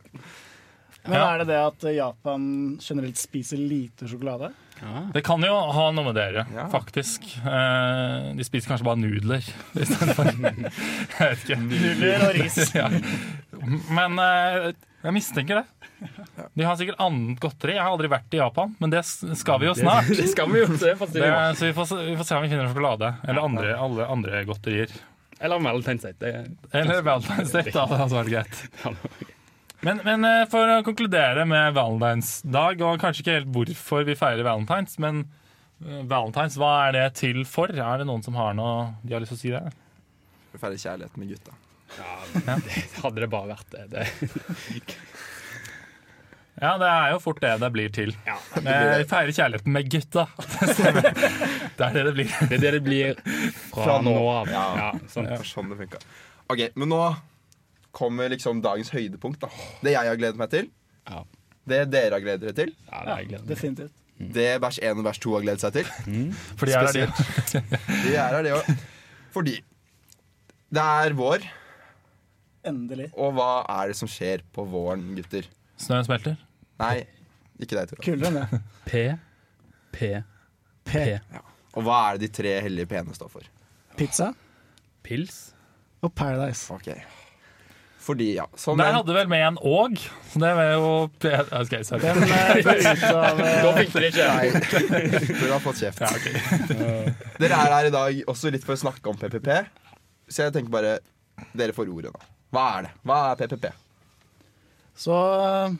Speaker 4: Men
Speaker 3: Ja.
Speaker 4: er det det at Japan generelt spiser lite sjokolade?
Speaker 3: Det kan jo ha noe med dere,
Speaker 1: Ja.
Speaker 3: faktisk. Eh, de spiser kanskje bare nudler istedenfor Jeg vet ikke.
Speaker 4: Nudler og ris.
Speaker 3: Ja. Men eh, jeg mistenker det. De har sikkert annet godteri. Jeg har aldri vært i Japan, men det s- skal vi jo snart.
Speaker 2: det sånn. skal vi jo se. på
Speaker 3: Det,
Speaker 2: siden.
Speaker 3: så vi får, se- vi får se om vi finner sjokolade. Eller andre, alle andre godterier.
Speaker 2: Eller Valentine's Day. Det-
Speaker 3: Eller Valentine's Day. Da hadde det vært greit.
Speaker 2: Ja, det-
Speaker 3: Men, men eh, for å konkludere med valentinsdag, og kanskje ikke helt hvorfor vi feirer valentines, men eh, valentines, hva er det til for? Er det noen som har noe de har lyst til å si der?
Speaker 1: Forferdelig kjærlighet med gutta.
Speaker 2: Hadde det bare vært det. det.
Speaker 3: Ja, det er jo fort det det blir til.
Speaker 2: Ja.
Speaker 3: Eh, Vi feirer kjærligheten med gutta. Det stemmer. Det er det det blir.
Speaker 2: Det er det det blir fra,
Speaker 1: Fra nå.
Speaker 2: nå av. Ja. sant.
Speaker 1: Det var sånn det funka. Ok, men nå kommer liksom dagens høydepunkt. da Det jeg har gledet meg til.
Speaker 2: Ja.
Speaker 1: Det dere har gledet dere til.
Speaker 2: Ja, det er jeg gleder meg.
Speaker 4: Definitivt.
Speaker 1: Det vers 1 og vers 2 har gledet seg til.
Speaker 3: Fordi jeg er der.
Speaker 1: Det er her, det også. Fordi det er vår,
Speaker 4: Endelig.
Speaker 1: og hva er det som skjer på våren, gutter?
Speaker 3: Snøen smelter.
Speaker 1: Nei, ikke deg, Tora.
Speaker 4: Kulere enn det.
Speaker 2: P, P, P.
Speaker 1: Og hva er det de tre hellige p-ene står for?
Speaker 4: Pizza
Speaker 2: Pils.
Speaker 4: og Paradise.
Speaker 1: Ok Fordi, ja som
Speaker 3: Der
Speaker 1: en,
Speaker 3: hadde vel med en og, så det var jo Ok, sorry.
Speaker 4: Den eh, går ut av
Speaker 2: Da
Speaker 4: eh,
Speaker 2: fikk dere ikke
Speaker 1: Nei, Tora har fått kjeft. Dere er her i dag også litt for å snakke om PPP, så jeg tenker bare Dere får ordet nå. Hva er det? Hva er PPP?
Speaker 4: Så eh,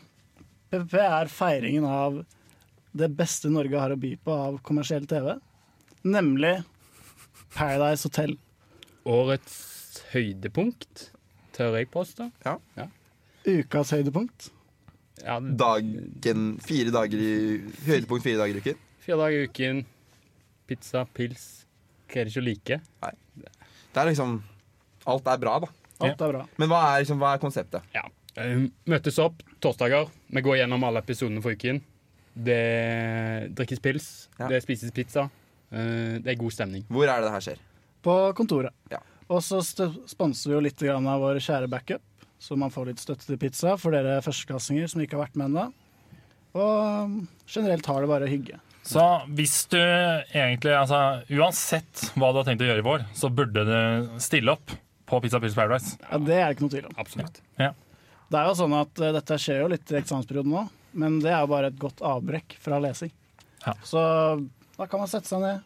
Speaker 4: PPP er feiringen av det beste Norge har å by på av kommersiell TV, nemlig Paradise Hotel.
Speaker 2: årets høydepunkt, tør jeg påstå.
Speaker 4: Ukas høydepunkt.
Speaker 2: Ja,
Speaker 1: Dagen fire dager i Høydepunkt fire dager i uken?
Speaker 2: fire dager i uken, pizza, pils. Hva er det ikke å like?
Speaker 1: Det er liksom Alt er bra, da.
Speaker 4: Alt er bra.
Speaker 1: Men hva er, liksom, hva er konseptet?
Speaker 2: Ja. Eh, Møtes opp torsdager. Vi går gjennom alle episodene for uken. Det drikkes pils,
Speaker 1: Ja.
Speaker 2: det spises pizza. Eh, Det er god stemning.
Speaker 1: Hvor er det det her skjer?
Speaker 4: På kontoret.
Speaker 1: Ja.
Speaker 4: Og så stø- sponser vi jo litt grann av vår kjære backup, så man får litt støtte til pizza for dere førsteklassinger som ikke har vært med ennå. Og generelt har det bare hygge.
Speaker 3: Så hvis du egentlig, altså uansett hva du har tenkt å gjøre i vår, så burde du stille opp på Pizza Pils Paradise.
Speaker 4: Ja, det er det ikke noe tvil om.
Speaker 2: Absolutt.
Speaker 4: Det er jo sånn at eh, dette skjer jo litt i eksamensperioden nå, men det er jo bare et godt avbrekk fra lesing.
Speaker 3: Ja.
Speaker 4: Så da kan man sette seg ned,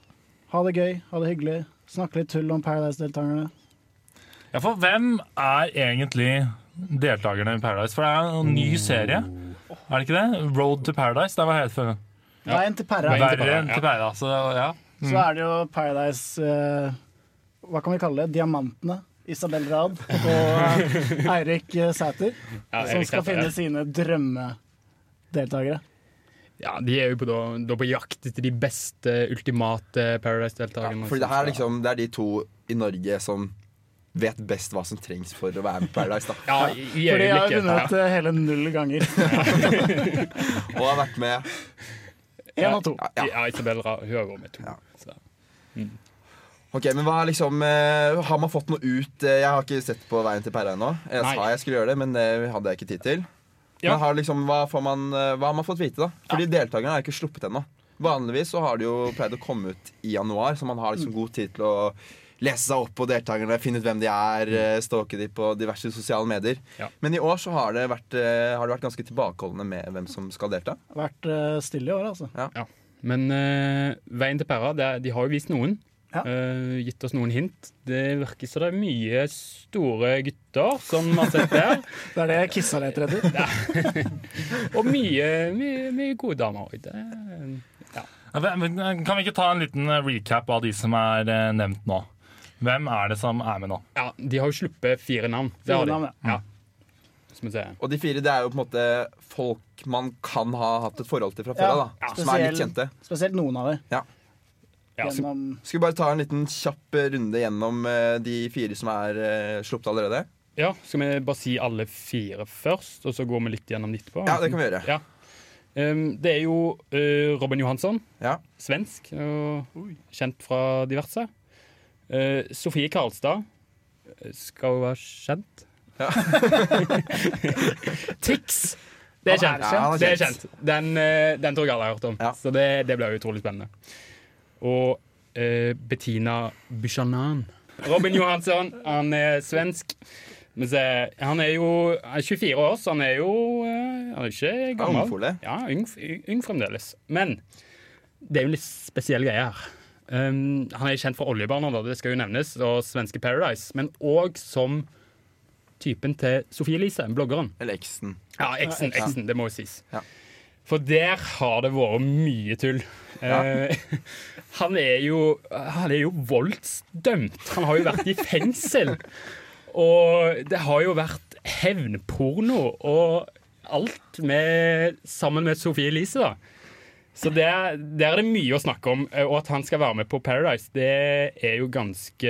Speaker 4: ha det gøy, ha det hyggelig, snakke litt tull om Paradise-deltakerne.
Speaker 3: Ja, for hvem er egentlig deltakerne i Paradise? For det er jo en ny serie, er det ikke det? Road to Paradise, det var helt før.
Speaker 2: Ja.
Speaker 4: Veien til Perra.
Speaker 2: Veien
Speaker 3: Verre enn til Paradise, så ja.
Speaker 4: Så er det jo Paradise eh, Hva kan vi kalle det? Diamantene. Isabel Rad og eh, Eirik eh, Sæther.
Speaker 2: Ja,
Speaker 4: som
Speaker 2: Erik
Speaker 4: skal
Speaker 2: Sæther, ja.
Speaker 4: finne sine drømmedeltakere.
Speaker 2: Ja, de er jo på, da, da på jakt etter de beste ultimate eh, Paradise-deltakerne.
Speaker 1: Fordi det her er liksom, det er de to i Norge som vet best hva som trengs for å være med på Paradise. Da.
Speaker 2: Ja, i, i
Speaker 4: Fordi jeg har
Speaker 2: øyeblikket.
Speaker 4: vunnet
Speaker 2: Ja.
Speaker 4: eh, hele null ganger.
Speaker 1: Og har vært med
Speaker 4: Én og to.
Speaker 1: Ja.
Speaker 2: Ja, Isabel Ra- hun har vært med to.
Speaker 1: Ja.
Speaker 2: Så.
Speaker 1: Ok, men hva er liksom eh, Har man fått noe ut eh, Jeg har ikke sett på Veien til Perra ennå. Jeg
Speaker 2: Nei.
Speaker 1: sa jeg skulle gjøre det, men det hadde jeg ikke tid til.
Speaker 2: Ja.
Speaker 1: Men har liksom, hva, får man, eh, hva har man fått vite, da? Fordi deltakerne er ikke sluppet ennå. Vanligvis så har de jo pleid å komme ut i januar, så man har
Speaker 2: Mm.
Speaker 1: liksom god tid til å lese seg opp på deltakerne, finne ut hvem de er, eh, stalke de på diverse sosiale medier.
Speaker 2: Mm. Ja.
Speaker 1: Men i år så har det, vært, eh, har det vært ganske tilbakeholdne med hvem som skal delta.
Speaker 4: Vært eh, stille i år, altså.
Speaker 2: Men eh, Veien til Perra, det, er- de har jo vist noen.
Speaker 4: Ja.
Speaker 2: Eh, gitt oss noen hint. Det virker som det er mye store gutter som har sett der.
Speaker 4: Det er det jeg kissa leter etter.
Speaker 2: Og mye, mye, mye gode damer. Det er-
Speaker 3: Ja, men- men Kan vi ikke ta en liten eh, recap av de som er eh, nevnt nå? Hvem er det som er med nå?
Speaker 2: Ja, de har jo sluppet fire navn. Det har
Speaker 4: Fire navn,
Speaker 2: de. Ja. Skal vi se.
Speaker 1: Og de fire det er jo på en måte folk man kan ha hatt et forhold til fra før av,
Speaker 4: Ja,
Speaker 1: da. Som er litt
Speaker 4: spesiell-
Speaker 1: kjente.
Speaker 4: Spesielt noen av dem.
Speaker 2: Ja, så,
Speaker 4: Gjennom
Speaker 1: Skal vi bare ta en liten kjapp runde gjennom eh, de fire som er eh, sluppet allerede?
Speaker 2: ja, skal vi bare si alle fire først, og så går vi litt gjennom det etterpå?
Speaker 1: Ja, det kan vi gjøre.
Speaker 2: Ja. Um, det er jo eh, Robin Johansson,
Speaker 1: Ja.
Speaker 2: svensk, og kjent fra diverse. Eh, Sofie Karlstad eh, skal jo være kjent.
Speaker 1: Ja.
Speaker 2: Tix! Det er
Speaker 4: Han
Speaker 2: kjent.
Speaker 4: er
Speaker 1: kjent.
Speaker 2: det er kjent. Den, eh, den tror jeg alle har hørt om,
Speaker 1: Ja.
Speaker 2: så det, det blir jo utrolig spennende. Og eh, Bettina Buchanan. Robin Johansson, han er svensk. Men se, han er jo han er 24 år, så han er jo eh, Han er ikke gammel.
Speaker 1: ungfole.
Speaker 2: Ja, ung, ung fremdeles. Men det er jo en litt spesiell greie her. Um, han er kjent fra Oljebarna, da, det skal jo nevnes, og svenske Paradise. Men òg som typen til Sofie Elise, bloggeren.
Speaker 1: Eller eksen.
Speaker 2: Ja, eksen,
Speaker 1: Ja.
Speaker 2: eksen, det må jo sies.
Speaker 1: Ja.
Speaker 2: For der har det vært mye tull.
Speaker 1: Ja.
Speaker 2: Eh, han er jo Han er jo voldsdømt. Han har jo vært i fengsel. Og det har jo vært hevnporno og alt med, sammen med Sofie Elise, da. Så der, der er det mye å snakke om. eh, Og at han skal være med på Paradise, det er jo ganske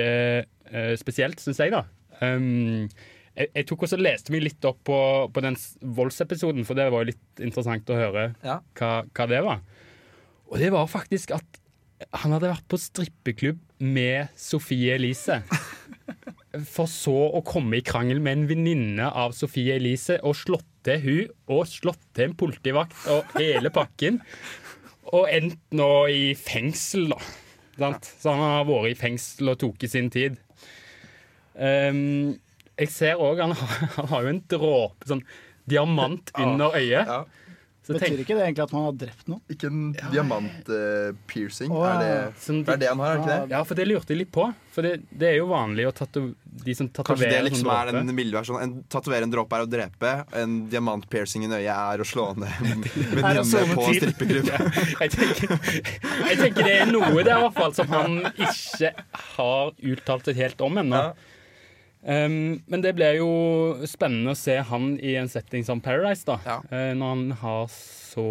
Speaker 2: eh, spesielt, syns jeg, da. Um, jeg, jeg tok også leste meg litt opp på, på den s- voldsepisoden, for det var jo litt interessant å høre
Speaker 1: Ja.
Speaker 2: hva, hva det var. Og det var faktisk at han hadde vært på strippeklubb med Sofie Elise. For så å komme i krangel med en venninne av Sofie Elise og slått til hun, og slått til en politivakt og hele pakken. Og endt nå i fengsel, da. Sant? Så han har vært i fengsel og tok i sin tid. Ehm, jeg ser òg han, har- han har jo en dråpe sånn diamant under øyet.
Speaker 1: Ja.
Speaker 2: Så tenk,
Speaker 4: Betyr ikke det egentlig at man har drept noen?
Speaker 1: Ikke en diamantpiercing.
Speaker 4: Å, ja.
Speaker 2: Sånn-
Speaker 1: det er det han har, er det ikke det?
Speaker 2: Ja, for det lurte jeg litt på. For det, det er jo vanlig å tatu- de som tatoverer
Speaker 1: Kanskje det
Speaker 2: som
Speaker 1: liksom er
Speaker 2: dråpe.
Speaker 1: den milde versjonen. En tatovere en dråpe er å drepe. En diamantpiercing i nøyet er å slå ned en venninne
Speaker 4: sove
Speaker 1: på
Speaker 4: til.
Speaker 1: strippeklubb.
Speaker 2: jeg, tenker, jeg tenker det er noe der, i hvert fall, som han ikke har uttalt seg helt om ennå.
Speaker 1: Ja.
Speaker 2: Um, men det blir jo spennende å se han i en setting som Paradise, da.
Speaker 1: Ja.
Speaker 2: eh, når han har så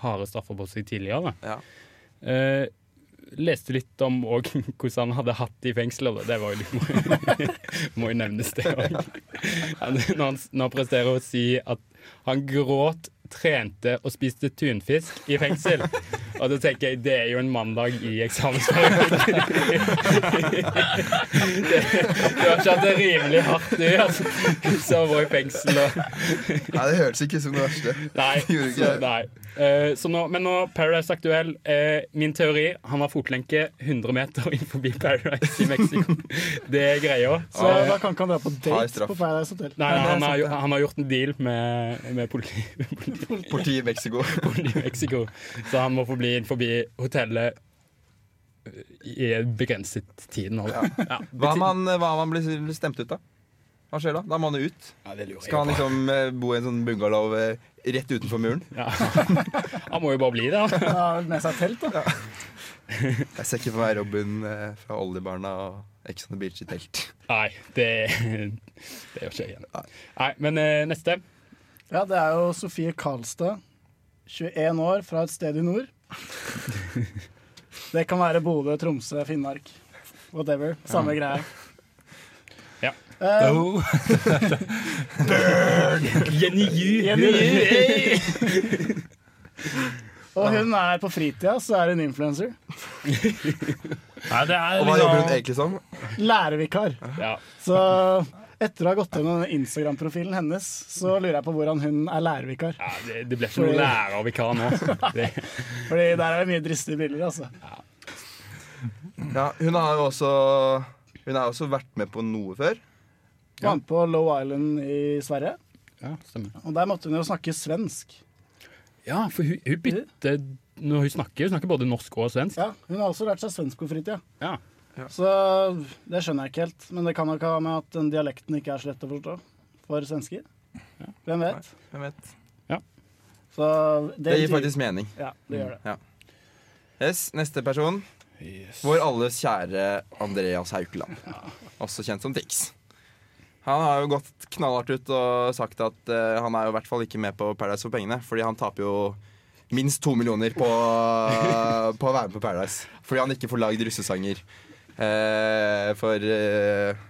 Speaker 2: harde straffer på seg tidligere.
Speaker 1: Ja.
Speaker 2: Eh, leste litt om og, hvordan han hadde hatt det i fengsel. og Det var jo litt Må jo nevnes, det òg. Når han når han presterer å si at han gråt, trente og spiste tunfisk i fengsel. Og da tenker jeg det er jo en mandag i eksamensperioden. det, du har ikke hatt det rimelig hardt, du, altså. Så var i fengsel og
Speaker 1: Nei, det høres ikke ut som det verste.
Speaker 2: Nei.
Speaker 1: Gjorde ikke
Speaker 2: Så,
Speaker 1: det.
Speaker 2: nei. Eh, så nå, men nå Paradise Aktuell. eh, min teori han har fotlenke 100 meter inn forbi Paradise i Mexico. Det er greia. Så,
Speaker 4: Så da kan ikke han dra på
Speaker 1: Hard
Speaker 4: date
Speaker 1: straff.
Speaker 4: på Paradise Hotel.
Speaker 2: nei,
Speaker 4: Ja, det er
Speaker 2: han, har,
Speaker 4: sant,
Speaker 2: jo-
Speaker 4: det.
Speaker 2: han har gjort en deal med, med politiet
Speaker 1: Politiet i Mexico.
Speaker 2: i Mexico, så han må få bli inn forbi hotellet eh, i en begrenset tid. nå. Ja.
Speaker 1: Hva om han, hva om han blir stemt ut, da? Hva skjer da? Da må han jo ut.
Speaker 2: Ja, det lurer jeg
Speaker 1: Skal han
Speaker 2: på.
Speaker 1: liksom eh, bo i en sånn bungalow eh, rett utenfor muren?
Speaker 2: Ja. Han må jo bare bli der.
Speaker 4: Han har vel med seg telt, da.
Speaker 1: Jeg ser ikke for meg Robin eh, fra Oljebarna og Ex on the Beach i telt.
Speaker 2: Nei, det, det gjør ikke jeg igjen. Nei, men eh, neste.
Speaker 4: Ja, det er jo Sofie Karlstad. 21 år, fra et sted i nord. Det kan være Bodø, Tromsø, Finnmark. Whatever. Samme greie.
Speaker 2: Ja.
Speaker 4: Eh,
Speaker 3: Oh.
Speaker 2: Jenny Yu!
Speaker 4: Jenny Yu, hey! og hun er på fritida, så er hun influenser.
Speaker 3: Nei, det er
Speaker 1: Og hva jobber hun
Speaker 3: liksom
Speaker 1: egentlig som?
Speaker 4: Lærervikar.
Speaker 2: Ja.
Speaker 4: Så etter å ha gått gjennom Instagram-profilen hennes, så lurer jeg på hvordan hun er lærervikar.
Speaker 2: Ja, det, det ble ikke noe lærervikar nå. Det,
Speaker 4: Fordi der er det mye dristige bilder, altså.
Speaker 1: Ja, hun har jo også Hun har også vært med på noe før.
Speaker 4: Hun var med på Low Island i Sverige,
Speaker 2: ja, stemmer.
Speaker 4: og der måtte hun jo snakke svensk.
Speaker 2: Ja, for hun, hun bytter når hun snakker. Hun snakker både norsk og svensk.
Speaker 4: Ja, Hun har også lært seg svensk på fritida,
Speaker 2: Ja.
Speaker 4: så det skjønner jeg ikke helt. Men det kan nok ha med at den dialekten ikke er så lett å forstå for svensker. Hvem vet?
Speaker 1: Hvem vet.
Speaker 4: Så
Speaker 1: Det gir
Speaker 4: betyr-
Speaker 1: faktisk mening.
Speaker 4: Ja, det gjør det.
Speaker 1: Yes, Neste person. Vår alles kjære Andreas Haukeland. Også kjent som Tix. Han har jo gått knallhardt ut og sagt at eh, han er jo i hvert fall ikke med på Paradise for pengene, fordi han taper jo minst to millioner på, på å være med på Paradise. Fordi han ikke får lagd russesanger eh, for eh,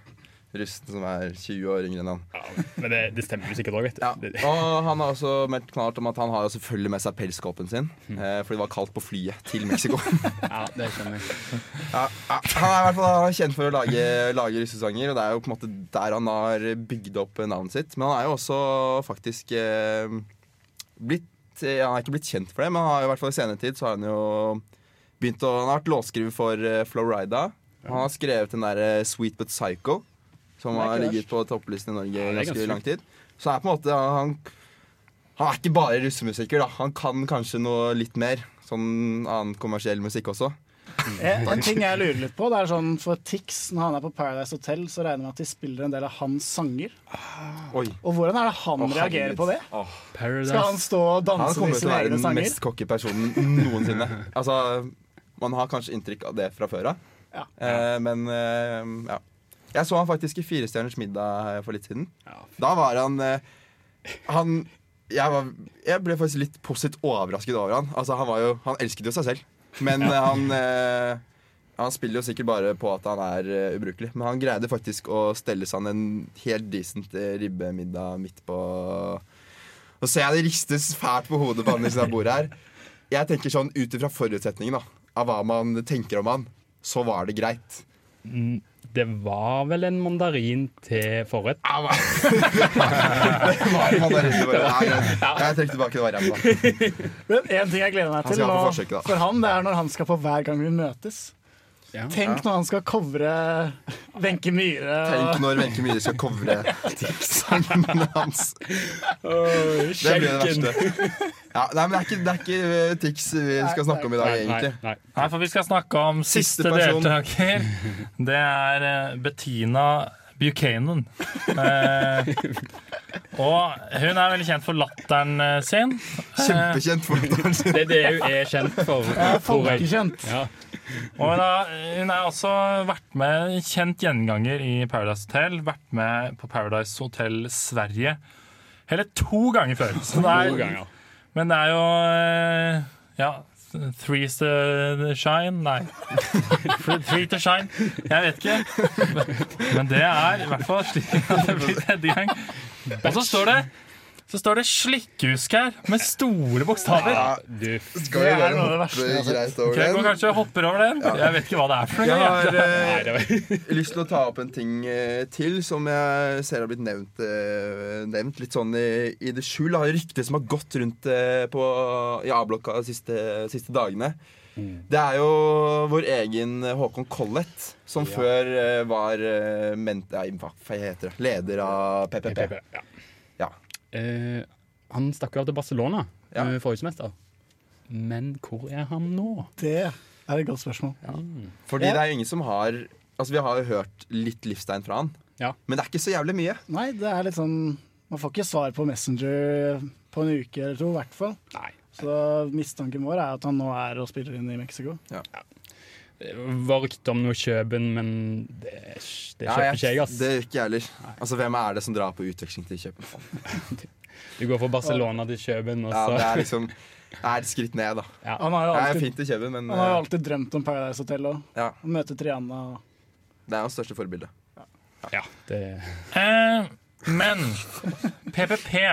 Speaker 1: russen som er 20 år yngre enn han.
Speaker 2: ja men det, det stemmer jo sikkert òg, vet du.
Speaker 1: Ja,
Speaker 2: Det-
Speaker 1: og han har også meldt knallhardt om at han har jo selvfølgelig med seg pelskåpen sin, eh, fordi det var kaldt på flyet til Mexico.
Speaker 2: Ja, det skjønner jeg.
Speaker 1: Ja, ja, han er i hvert fall han er kjent for å lage, lage russesanger, og det er jo på en måte der han har bygd opp navnet sitt. Men han er jo også faktisk eh, blitt eh, Han er ikke blitt kjent for det, men han har jo i hvert fall i senere tid så har han jo begynt å Han har vært låtskriver for eh, Florida. Han har skrevet den derre Sweet But Psycho, som
Speaker 4: Det er
Speaker 1: har
Speaker 4: ikke
Speaker 1: ligget på topplisten i Norge
Speaker 2: det er
Speaker 1: i ganske
Speaker 2: ganske
Speaker 1: lang tid. Så han er på en måte han, han er ikke bare russemusiker, da. Han kan kanskje noe litt mer. Sånn annen kommersiell musikk også.
Speaker 4: En, Eh, en ting jeg lurer litt på, det er sånn for Tix, når han er på Paradise Hotel, så regner jeg med at de spiller en del av hans sanger.
Speaker 1: Oi.
Speaker 4: Og hvordan er det han
Speaker 1: Å,
Speaker 4: reagerer
Speaker 1: herregud.
Speaker 4: på det?
Speaker 1: Åh.
Speaker 4: Skal han
Speaker 2: Paradise.
Speaker 4: stå og
Speaker 1: Han
Speaker 4: danse
Speaker 1: kommer til
Speaker 4: til
Speaker 1: å
Speaker 4: sine
Speaker 1: være
Speaker 4: egne
Speaker 1: den
Speaker 4: sanger?
Speaker 1: mest cocky personen noensinne. Altså, Man har kanskje inntrykk av det fra før av,
Speaker 4: Ja.
Speaker 1: eh, men eh, ja. Jeg så han faktisk i Firestjerners middag for litt siden.
Speaker 2: Ja, f-
Speaker 1: Da var han eh, Han jeg, var, jeg ble faktisk litt positivt overrasket over han. Altså, han, var jo, han elsket jo seg selv, men eh, han eh, han spiller jo sikkert bare på at han er eh, ubrukelig, men han greide faktisk å stelle seg en helt decent eh, ribbemiddag midt på Nå ser jeg det ristes fælt på hodet på andre siden av bordet her. Jeg tenker sånn ut ifra forutsetningen da, av hva man tenker om han, så var det greit.
Speaker 2: mm, Det var vel en mandarin til forrett. Øh,
Speaker 1: Au, au. det var jo mandarin i bordet. Nei, greit. Jeg trekker tilbake det var ræva.
Speaker 4: Men en ting jeg gleder meg
Speaker 1: Han
Speaker 4: til
Speaker 1: skal ha på
Speaker 4: nå,
Speaker 1: forsøket, da.
Speaker 4: for han, det er når han skal på Hver gang vi møtes.
Speaker 2: Ja.
Speaker 4: Tenk når han skal covre Wenche Myhre.
Speaker 1: Tenk
Speaker 4: og-
Speaker 1: når Wenche Myhre skal covre sangene hans. Det blir det verste. Ja, nei, men det er ikke, det er ikke eh, Tix vi skal snakke om i dag,
Speaker 2: Nei, nei,
Speaker 1: egentlig.
Speaker 2: nei.
Speaker 3: Nei, for vi skal snakke om
Speaker 1: Siste
Speaker 3: siste,
Speaker 1: person.
Speaker 3: deltaker. Det er eh, Bettina Buchanan. Eh, og hun er veldig kjent for latteren eh, sin. Eh,
Speaker 1: Kjempekjent folk.
Speaker 2: Det er det hun er kjent for.
Speaker 4: Ja,
Speaker 2: tror jeg.
Speaker 4: Folkekjent.
Speaker 2: Ja.
Speaker 3: og hun har, hun har også vært med kjent gjenganger i Paradise Hotel. Vært med på Paradise Hotel Sverige hele to ganger før. Så det er,
Speaker 2: To ganger.
Speaker 3: men det er jo eh, Ja. Three's the shine? Nei. Three to shine? Jeg vet ikke. Men det er i hvert fall slik at det blir tredje gang. Og så står det så står det 'slikkehusk' her, med store bokstaver.
Speaker 1: Ja,
Speaker 2: Du,
Speaker 1: Skal
Speaker 4: Det
Speaker 1: vi
Speaker 4: er
Speaker 1: bare
Speaker 4: noe av det verste jeg
Speaker 1: hoppe
Speaker 4: har sett.
Speaker 1: greit
Speaker 3: Ok,
Speaker 1: over
Speaker 3: Jeg går
Speaker 1: den?
Speaker 3: kanskje og hopper over den. Jeg vet ikke hva det er for
Speaker 1: Jeg
Speaker 3: noe.
Speaker 1: har eh,
Speaker 2: nei, det var
Speaker 1: lyst til å ta opp en ting eh, til som jeg ser har blitt nevnt, eh, nevnt litt sånn i, i det skjul. Det har ryktet som har gått rundt eh, på, i A-blokka de siste, siste dagene.
Speaker 2: Mm.
Speaker 1: Det er jo vår egen Håkon Collett, som før eh, var eh, men, nei, hva heter det? leder av PPP.
Speaker 2: PPP. Ja.
Speaker 1: Ja.
Speaker 2: Eh, han stakk jo av til Barcelona
Speaker 1: Ja.
Speaker 2: eh, forrige semester. Men hvor er han nå?
Speaker 4: Det er et godt spørsmål.
Speaker 1: Fordi det er jo ingen som har Altså Vi har jo hørt litt livstegn fra han,
Speaker 2: Ja.
Speaker 1: men det er ikke så jævlig mye.
Speaker 4: Nei, det er litt sånn Man får ikke svar på Messenger på en uke eller to, i hvert fall.
Speaker 2: Nei.
Speaker 4: Så mistanken vår er at han nå er og spiller inn i Mexico.
Speaker 2: Det var rykte om noe Kjøben, men det, det
Speaker 1: Ja,
Speaker 2: kjøper
Speaker 1: jeg-
Speaker 2: ikke jeg, ass.
Speaker 1: Det gjør ikke jeg heller. Altså, hvem er det som drar på utveksling til København?
Speaker 2: Du går fra Barcelona til Kjøben, og
Speaker 1: Ja,
Speaker 2: så
Speaker 1: det er liksom Det er et skritt ned, da.
Speaker 4: Han har jo
Speaker 1: Det er
Speaker 4: alltid,
Speaker 1: fint i kjeven, men
Speaker 4: han har jo
Speaker 1: eh,
Speaker 4: alltid drømt om Paradise Hotel og
Speaker 1: ja,
Speaker 4: og møte Triana. og-
Speaker 1: det er hans største forbilde.
Speaker 2: Ja, det
Speaker 3: Eh, men PPP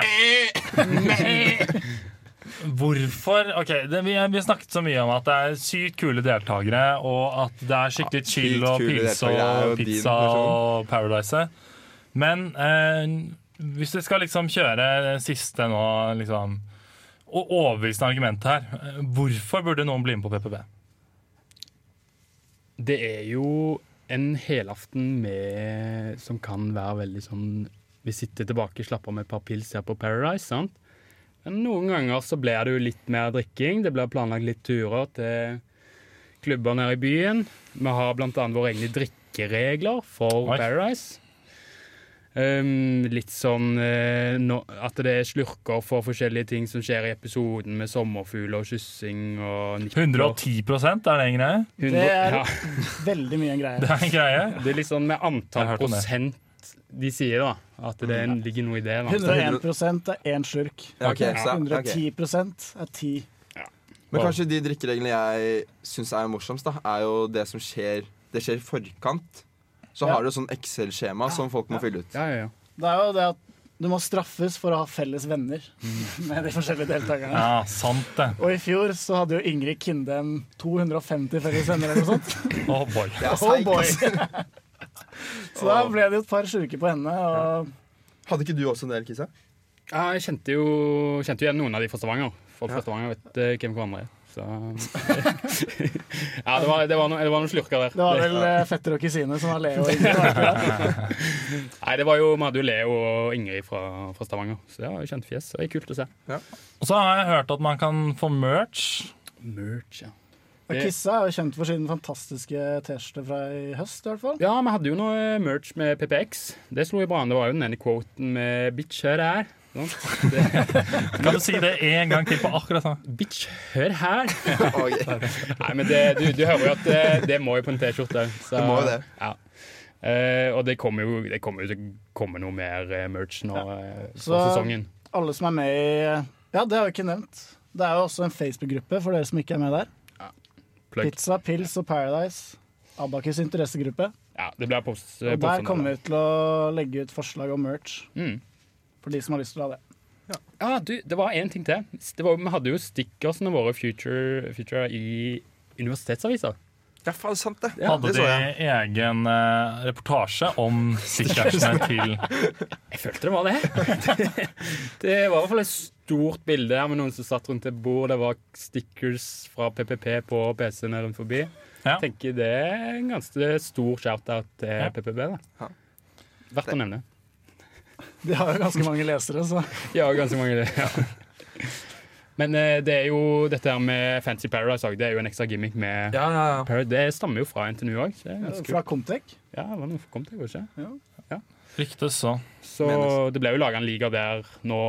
Speaker 3: Hvorfor Ok, det, vi, vi har snakket så mye om at det er sykt kule deltakere, og at det er skikkelig
Speaker 1: Ja, sykt
Speaker 3: chill og
Speaker 1: kule
Speaker 3: pils
Speaker 1: deltakere er jo
Speaker 3: og
Speaker 1: din
Speaker 3: pizza
Speaker 1: versjon.
Speaker 3: og Paradise. Men eh, hvis vi skal liksom kjøre det siste nå, liksom og overbevisende argument her. eh, Hvorfor burde noen bli med på PPP?
Speaker 2: Det er jo en helaften med Som kan være veldig sånn Vi sitter tilbake, slapper av med et par pils her på Paradise, sant? Men noen ganger så blir det jo litt mer drikking. Det blir planlagt litt turer til klubber nede i byen. Vi har blant annet våre egne drikkeregler for
Speaker 3: Oi.
Speaker 2: Paradise. Ehm, litt sånn eh, nå- at det er slurker for forskjellige ting som skjer i episoden, med sommerfugler og kyssing og nipp og-
Speaker 3: 110 er det en greie?
Speaker 2: Hundre-
Speaker 4: Det er-
Speaker 2: ja.
Speaker 4: Veldig mye en
Speaker 3: Det
Speaker 4: greie.
Speaker 3: er en greie.
Speaker 2: Det er litt sånn med
Speaker 3: Jeg
Speaker 2: antall
Speaker 3: har hørt om det.
Speaker 2: prosent de sier, da. At det er- ligger noe i det. da.
Speaker 4: 101 er én slurk.
Speaker 1: Ja, ok, så- ok.
Speaker 4: 110 er ti.
Speaker 1: Men kanskje de drikkereglene jeg syns er morsomst, da, er jo det som skjer Det skjer i forkant. Så
Speaker 4: Ja.
Speaker 1: har du sånn Excel-skjema som folk må fylle ut.
Speaker 2: Ja, ja, ja.
Speaker 4: Det er jo det at du må straffes for å ha felles venner med de forskjellige deltakerne.
Speaker 3: Ja, sant det.
Speaker 4: Og i fjor så hadde jo Ingrid Kindem 250 felles venner eller noe sånt.
Speaker 3: Oh boy.
Speaker 1: Det er
Speaker 4: Oh
Speaker 1: seigt,
Speaker 4: boy.
Speaker 1: ass.
Speaker 4: Så da ble det jo et par sjuke på henne. Og
Speaker 1: Hadde ikke du også en del, Kisse?
Speaker 2: Ja, jeg kjente jo, kjente jo igjen noen av de fra Stavanger. Folk fra Stavanger vet eh, hvem hverandre er. Så Ja, det var, det var, noen, det var noen slurker
Speaker 4: det var
Speaker 2: der.
Speaker 4: vel eh, fetter og kusine som var Leo og Ingrid. var det ikke det?
Speaker 2: Nei, det var jo, Vi hadde jo Leo og Ingrid fra, fra Stavanger, så det var jo kjent fjes. og Det er kult å se.
Speaker 3: Og så har jeg hørt at man kan få merch.
Speaker 2: Merch, ja.
Speaker 4: Og Kissa er jo kjent for sin fantastiske T-skjorte fra i høst, i hvert fall.
Speaker 2: Ja, vi hadde jo noe eh, merch med PPX. Det slo jo bra an. Det var jo den ene quoten med 'bitch, hør her'. sant? Det,
Speaker 3: Kan du si det en gang til på akkurat sånn?
Speaker 2: bitch, hør her.
Speaker 1: Ok.
Speaker 2: Nei, men det, du, du hører jo at det, det må jo på en T-skjorte. så-
Speaker 1: Det må jo det.
Speaker 2: Ja. Eh, og det kommer jo det kommer jo til å komme noe mer eh, merch nå eh, for
Speaker 4: Så-
Speaker 2: sesongen.
Speaker 4: Alle som er med i Ja, det har vi ikke nevnt. Det er jo også en Facebook-gruppe for dere som ikke er med der.
Speaker 2: Plugg.
Speaker 4: Pizza, Pils og Paradise. Abakus interessegruppe.
Speaker 2: Ja, det blir post. eh,
Speaker 4: Og der kommer vi til å legge ut forslag om merch
Speaker 2: Mm.
Speaker 4: for de som har lyst til å ha det.
Speaker 2: Ja, du, det var én ting til. Det var, vi hadde jo stickersene våre Future, future i universitetsaviser.
Speaker 1: Ja, faen, sant det.
Speaker 3: Hadde
Speaker 1: det
Speaker 3: de
Speaker 1: så jeg.
Speaker 3: egen eh, reportasje om stickersene til
Speaker 2: Jeg følte det var det. det var i hvert fall et stort bilde her med noen som satt rundt et bord. Det var stickers fra PPP på PC-ene rundt forbi.
Speaker 3: Ja.
Speaker 2: Jeg tenker det er en ganske stor shout-out til
Speaker 3: Ja.
Speaker 2: PPP.
Speaker 1: Ja.
Speaker 2: da. Verdt å nevne.
Speaker 4: De har jo ganske mange lesere, så
Speaker 2: De har jo ganske mange det. Ja. Men eh, det er jo dette her med Fancy Paradise òg. Det er jo en ekstra gimmick med
Speaker 1: Ja, ja, ja.
Speaker 2: Paradise. Det stammer jo fra NTNU òg. Ja,
Speaker 4: fra Comtec.
Speaker 2: det var noe for kom til, kanskje.
Speaker 3: Ryktes så.
Speaker 2: Så
Speaker 1: Menes.
Speaker 2: det ble jo laga en liga der nå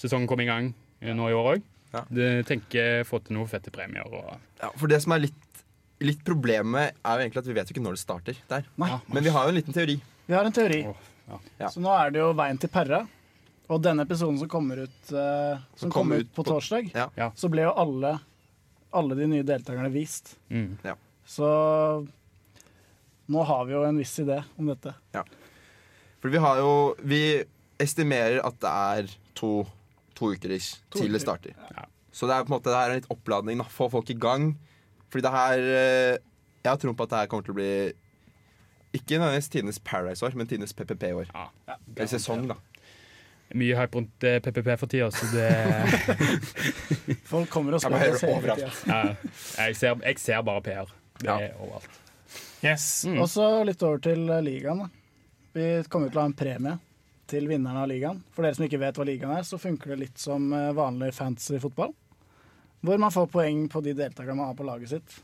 Speaker 2: sesongen kom i gang eh, nå i år òg.
Speaker 1: Ja.
Speaker 2: Tenker få til noen fette premier og
Speaker 1: ja. For det som er litt, litt problemet, er jo egentlig at vi vet jo ikke når det starter der.
Speaker 4: Nei,
Speaker 1: Men vi har jo en liten teori.
Speaker 4: vi har en teori.
Speaker 2: Åh, ja.
Speaker 4: Så nå er det jo Veien til Perra. Og denne episoden som kommer ut, eh, som
Speaker 1: Som
Speaker 4: kom
Speaker 1: kommer
Speaker 4: ut
Speaker 1: ut
Speaker 4: på
Speaker 1: på-
Speaker 4: torsdag,
Speaker 1: Ja.
Speaker 2: Ja.
Speaker 4: så ble jo alle, alle de nye deltakerne vist.
Speaker 2: mm.
Speaker 4: Så nå har vi jo en viss idé om dette.
Speaker 1: For vi har jo Vi estimerer at det er to, to uker ish
Speaker 4: To
Speaker 1: til
Speaker 4: uker.
Speaker 1: det starter.
Speaker 2: Ja.
Speaker 1: Så det er på en måte Det her er litt oppladning. Da. Få folk i gang. Fordi det her eh, Jeg har troen på at det her kommer til å bli ikke nødvendigvis tidenes Paradise-år, men tidenes PPP-år.
Speaker 2: ja.
Speaker 1: Eller sesong, da.
Speaker 2: Mye hype rundt eh, PPP for tida, så det
Speaker 4: Folk kommer og
Speaker 1: Jeg bare
Speaker 4: spør
Speaker 1: hører
Speaker 4: oss hele
Speaker 1: overalt.
Speaker 4: tida.
Speaker 2: ja. jeg, ser, jeg ser bare PR. Det
Speaker 1: Ja.
Speaker 2: er overalt.
Speaker 3: Yes.
Speaker 2: Mm.
Speaker 4: Og så litt over til eh, ligaen. Da. Vi kommer til å ha en premie til vinnerne av ligaen. For dere som ikke vet hva ligaen er, så funker det litt som eh, vanlig fantasy-fotball. Hvor man får poeng på de deltakerne man har på laget sitt.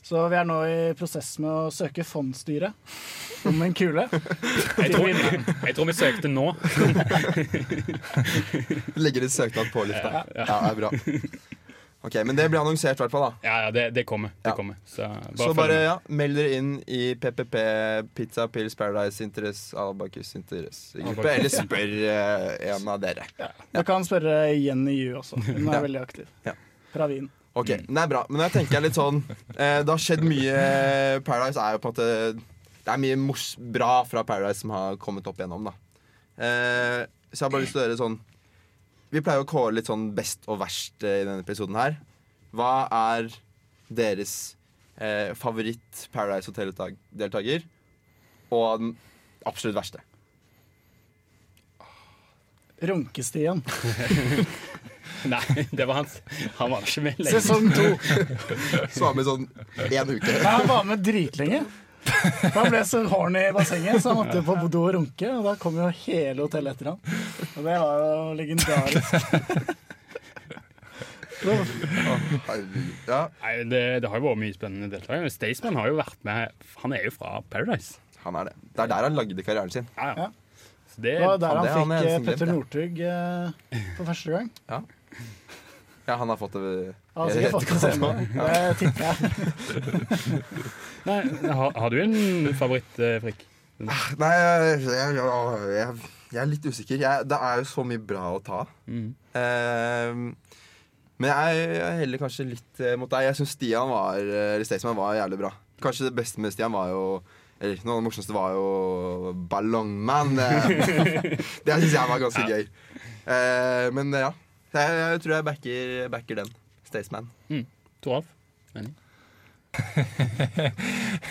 Speaker 4: Så vi er nå i prosess med å søke fondsstyret om en kule.
Speaker 2: Jeg tror, jeg tror vi søkte nå.
Speaker 1: Legger litt søknad på lufta.
Speaker 2: Ja.
Speaker 1: Ja, det er bra. Ok, Men det blir annonsert, i hvert fall. da
Speaker 2: Ja, ja, det, det kommer. Det
Speaker 1: Ja.
Speaker 2: kommer. Så bare,
Speaker 1: Så
Speaker 2: følg
Speaker 1: bare
Speaker 2: med.
Speaker 1: ja, meld dere inn i PPP, Pizza Pills Paradise Interess, Albacus Interess gruppe.
Speaker 2: Abacus.
Speaker 1: Eller spør eh, en av dere.
Speaker 4: Du kan spørre Jenny Yu også. Hun er veldig aktiv. Pravin.
Speaker 1: Ok, Det er bra. Men jeg tenker litt sånn eh, Det har skjedd mye Paradise er jo på en måte Det er mye mors bra fra Paradise som har kommet opp igjennom, da. Eh, så jeg har bare lyst til å gjøre sånn Vi pleier å kåre litt sånn best og verst eh, i denne episoden her. Hva er deres eh, favoritt Paradise Hotel-deltaker? Og den absolutt verste.
Speaker 4: Runkestien.
Speaker 2: Nei, det var hans. Han var ikke med lenge.
Speaker 4: Sesong to.
Speaker 1: Så var vi sånn én uke.
Speaker 4: Nei, han var med dritlenge. Han ble så horny i bassenget, så han måtte jo på do og runke. Og da kom jo hele hotellet etter han. Og det var jo legendarisk.
Speaker 1: Ja,
Speaker 2: Nei, det, det har jo vært mye spennende deltakere. Staysman har jo vært med Han er jo fra Paradise.
Speaker 1: han er det. Det er der han lagde karrieren sin.
Speaker 2: Ja,
Speaker 4: Ja.
Speaker 2: ja. Så det,
Speaker 4: Det var der
Speaker 1: Faen, det har
Speaker 4: han
Speaker 1: han
Speaker 4: fikk
Speaker 1: nesten
Speaker 4: eh,
Speaker 1: glemt,
Speaker 4: Petter
Speaker 1: ja.
Speaker 4: Northug eh, for første gang.
Speaker 1: Ja, han har fått det eh,
Speaker 4: Han har sikkert fått det senere. Det tipper jeg.
Speaker 2: nei, har, har du en favoritt, eh, Frikk?
Speaker 1: Nei, jeg, jeg, jeg, jeg er litt usikker. Jeg, det er jo så mye bra å ta.
Speaker 2: Mm.
Speaker 1: Ehm, men jeg, jeg heller kanskje litt eh, mot deg. Jeg syns Stian var eh, Eller Staysman var jævlig bra. Kanskje det beste med Stian var jo Eller noe av det morsomste var jo Ballongman. eh. det syns jeg var ganske gøy. Eh, men ja. Jeg, jeg tror jeg backer, backer den. Staysman.
Speaker 2: Toralf? Enig?
Speaker 3: Jeg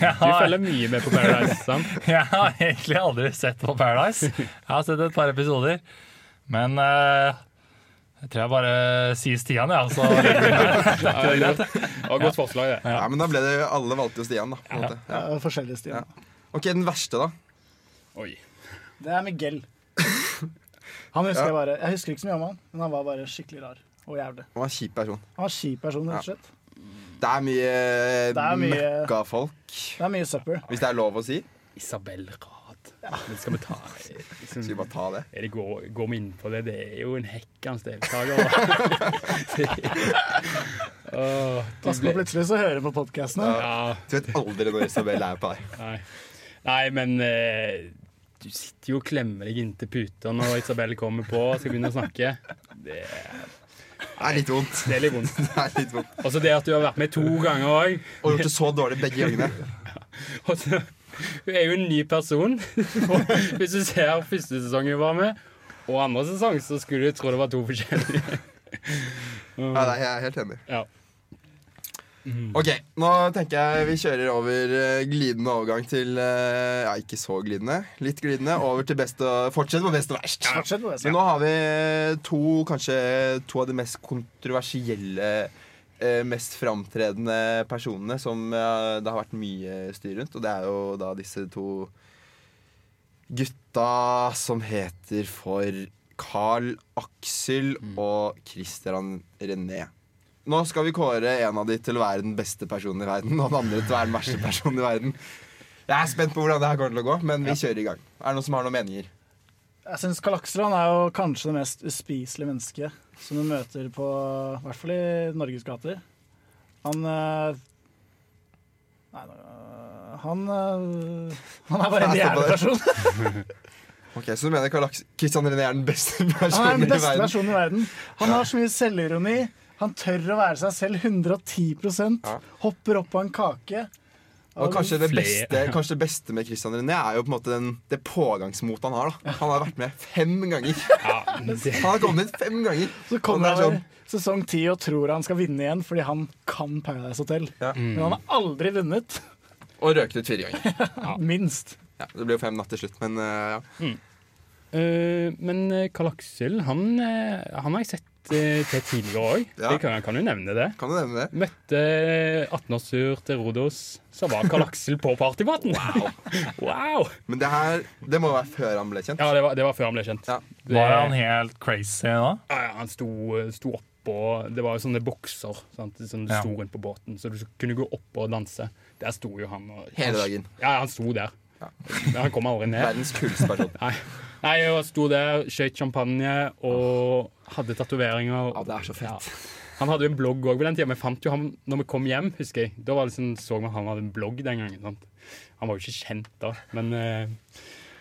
Speaker 2: Du
Speaker 3: har,
Speaker 2: følger mye med på Paradise, sant?
Speaker 3: jeg har egentlig aldri sett på Paradise. Jeg har sett et par episoder. Men eh, jeg tror jeg bare sier Stian, jeg. Ja, altså.
Speaker 2: Ja, det er greit. Det var et godt forslag, det.
Speaker 1: Ja. men da ble det Alle valgte jo Stian, da. På en måte.
Speaker 4: Ja,
Speaker 1: Ja.
Speaker 4: forskjellige stier.
Speaker 1: OK, den verste, da.
Speaker 2: Oi.
Speaker 4: Det er Miguel. Han husker
Speaker 1: Ja.
Speaker 4: jeg bare Jeg husker ikke så mye om han, men han var bare skikkelig rar og jævlig.
Speaker 1: Han var en kjip person.
Speaker 4: Han var en kjip person, rett og slett.
Speaker 1: Det er mye,
Speaker 4: Det er mye-
Speaker 1: møkkafolk,
Speaker 4: Det er mye søppel.
Speaker 1: hvis det er lov å si.
Speaker 2: Isabel Rad. Det skal vi ta liksom,
Speaker 1: Skal vi bare ta det?
Speaker 2: er det går, går vi inn på det? Det er jo en hekkans deltaker. Åh, du
Speaker 4: Pass på,
Speaker 2: ble-
Speaker 4: plutselig så hører jeg på podkasten.
Speaker 2: ja,
Speaker 1: Du vet aldri når Isabel er på deg.
Speaker 2: nei. nei, men eh, du sitter jo og klemmer deg inntil puta når Isabel kommer på og skal begynne å snakke. Det,
Speaker 1: Det er litt vondt.
Speaker 2: det er litt vondt.
Speaker 1: Det er litt vondt.
Speaker 2: Og så det at du har vært med to ganger òg.
Speaker 1: Og gjort det så dårlig begge gangene.
Speaker 2: Og så- Hun er jo en ny person. Og Hvis du ser første sesong hun var med, og andre sesong, så skulle du tro det var to forskjellige.
Speaker 1: Ja, nei, jeg er helt enig.
Speaker 2: Ja.
Speaker 1: Ok, nå tenker jeg vi kjører over eh, glidende overgang til eh, Ja, ikke så glidende. Litt glidende. Over til best og Fortsett med best og verst.
Speaker 4: Fortsett med det.
Speaker 1: Men nå har vi eh, to, kanskje to av de mest kontroversielle, eh, mest framtredende personene som eh, det har vært mye styr rundt. Og det er jo da disse to gutta som heter for Carl Aksel og Christian René. Nå skal vi kåre en av de til å være den beste personen i verden, og den andre til å være den verste personen i verden. Jeg er spent på hvordan det her kommer til å gå, men vi kjører i gang. Er det noen som har noen meninger?
Speaker 4: Jeg syns Karl Aksel han er jo kanskje det mest uspiselige mennesket som du møter på I hvert fall i Norges gater. Han eh, Nei, nå- han eh, Han er bare en
Speaker 1: Jeg stopper
Speaker 4: jævlig
Speaker 1: der.
Speaker 4: person.
Speaker 1: Ok, Så du mener Karl Aks- Christian René er den beste personen
Speaker 4: Han er den
Speaker 1: i
Speaker 4: beste
Speaker 1: verden?
Speaker 4: personen i verden. Han har så mye selvironi. Han tør å være seg selv 110
Speaker 1: Ja.
Speaker 4: Hopper opp av en kake.
Speaker 1: Og kanskje det,
Speaker 2: Flere.
Speaker 1: beste, kanskje det beste med Christian René er jo på en måte den, det pågangsmotet han har. da Han har vært med fem ganger.
Speaker 2: Ja, det,
Speaker 1: Han har kommet fem ganger.
Speaker 4: Så
Speaker 1: Og
Speaker 4: kommer
Speaker 1: det er sånn-
Speaker 4: han i sesong ti og tror han skal vinne igjen fordi han kan Paradise Hotel.
Speaker 1: Ja.
Speaker 4: Men han har aldri vunnet.
Speaker 1: Og røket ut fire ganger.
Speaker 4: Minst.
Speaker 1: Ja, det ble jo fem natt til slutt, men eh, ja.
Speaker 2: Eh, men eh, Karl Aksel, han, eh, han har jeg sett eh, til tidligere òg.
Speaker 1: Ja.
Speaker 2: Jeg kan, kan jo nevne det.
Speaker 1: kan du nevne det?
Speaker 2: Møtte 18-årssur til Rodos, så var Karl Aksel på partypraten. Wow.
Speaker 1: Men det her det må være før han ble kjent.
Speaker 2: Ja, det var, det var før han ble kjent.
Speaker 1: Ja.
Speaker 2: Det,
Speaker 3: Var han helt crazy nå?
Speaker 2: Ja, ja, han sto, sto oppå Det var jo sånne bokser sant, som du
Speaker 3: Ja.
Speaker 2: sto rundt på båten, så du kunne gå opp og danse. Der sto jo han. Og,
Speaker 1: Hele dagen.
Speaker 2: Ja, han sto der.
Speaker 1: Ja.
Speaker 2: Men han kom aldri ned.
Speaker 1: Verdens kuleste person.
Speaker 2: Nei, Nei han sto der, skjøt champagne og hadde tatoveringer.
Speaker 1: Ja, det er så fett.
Speaker 2: Han hadde jo en blogg òg på den tida. Vi fant jo ham når vi kom hjem, husker jeg. Da var det sånn, så vi at han hadde en blogg den gangen. Sant? Han var jo ikke kjent da, men eh,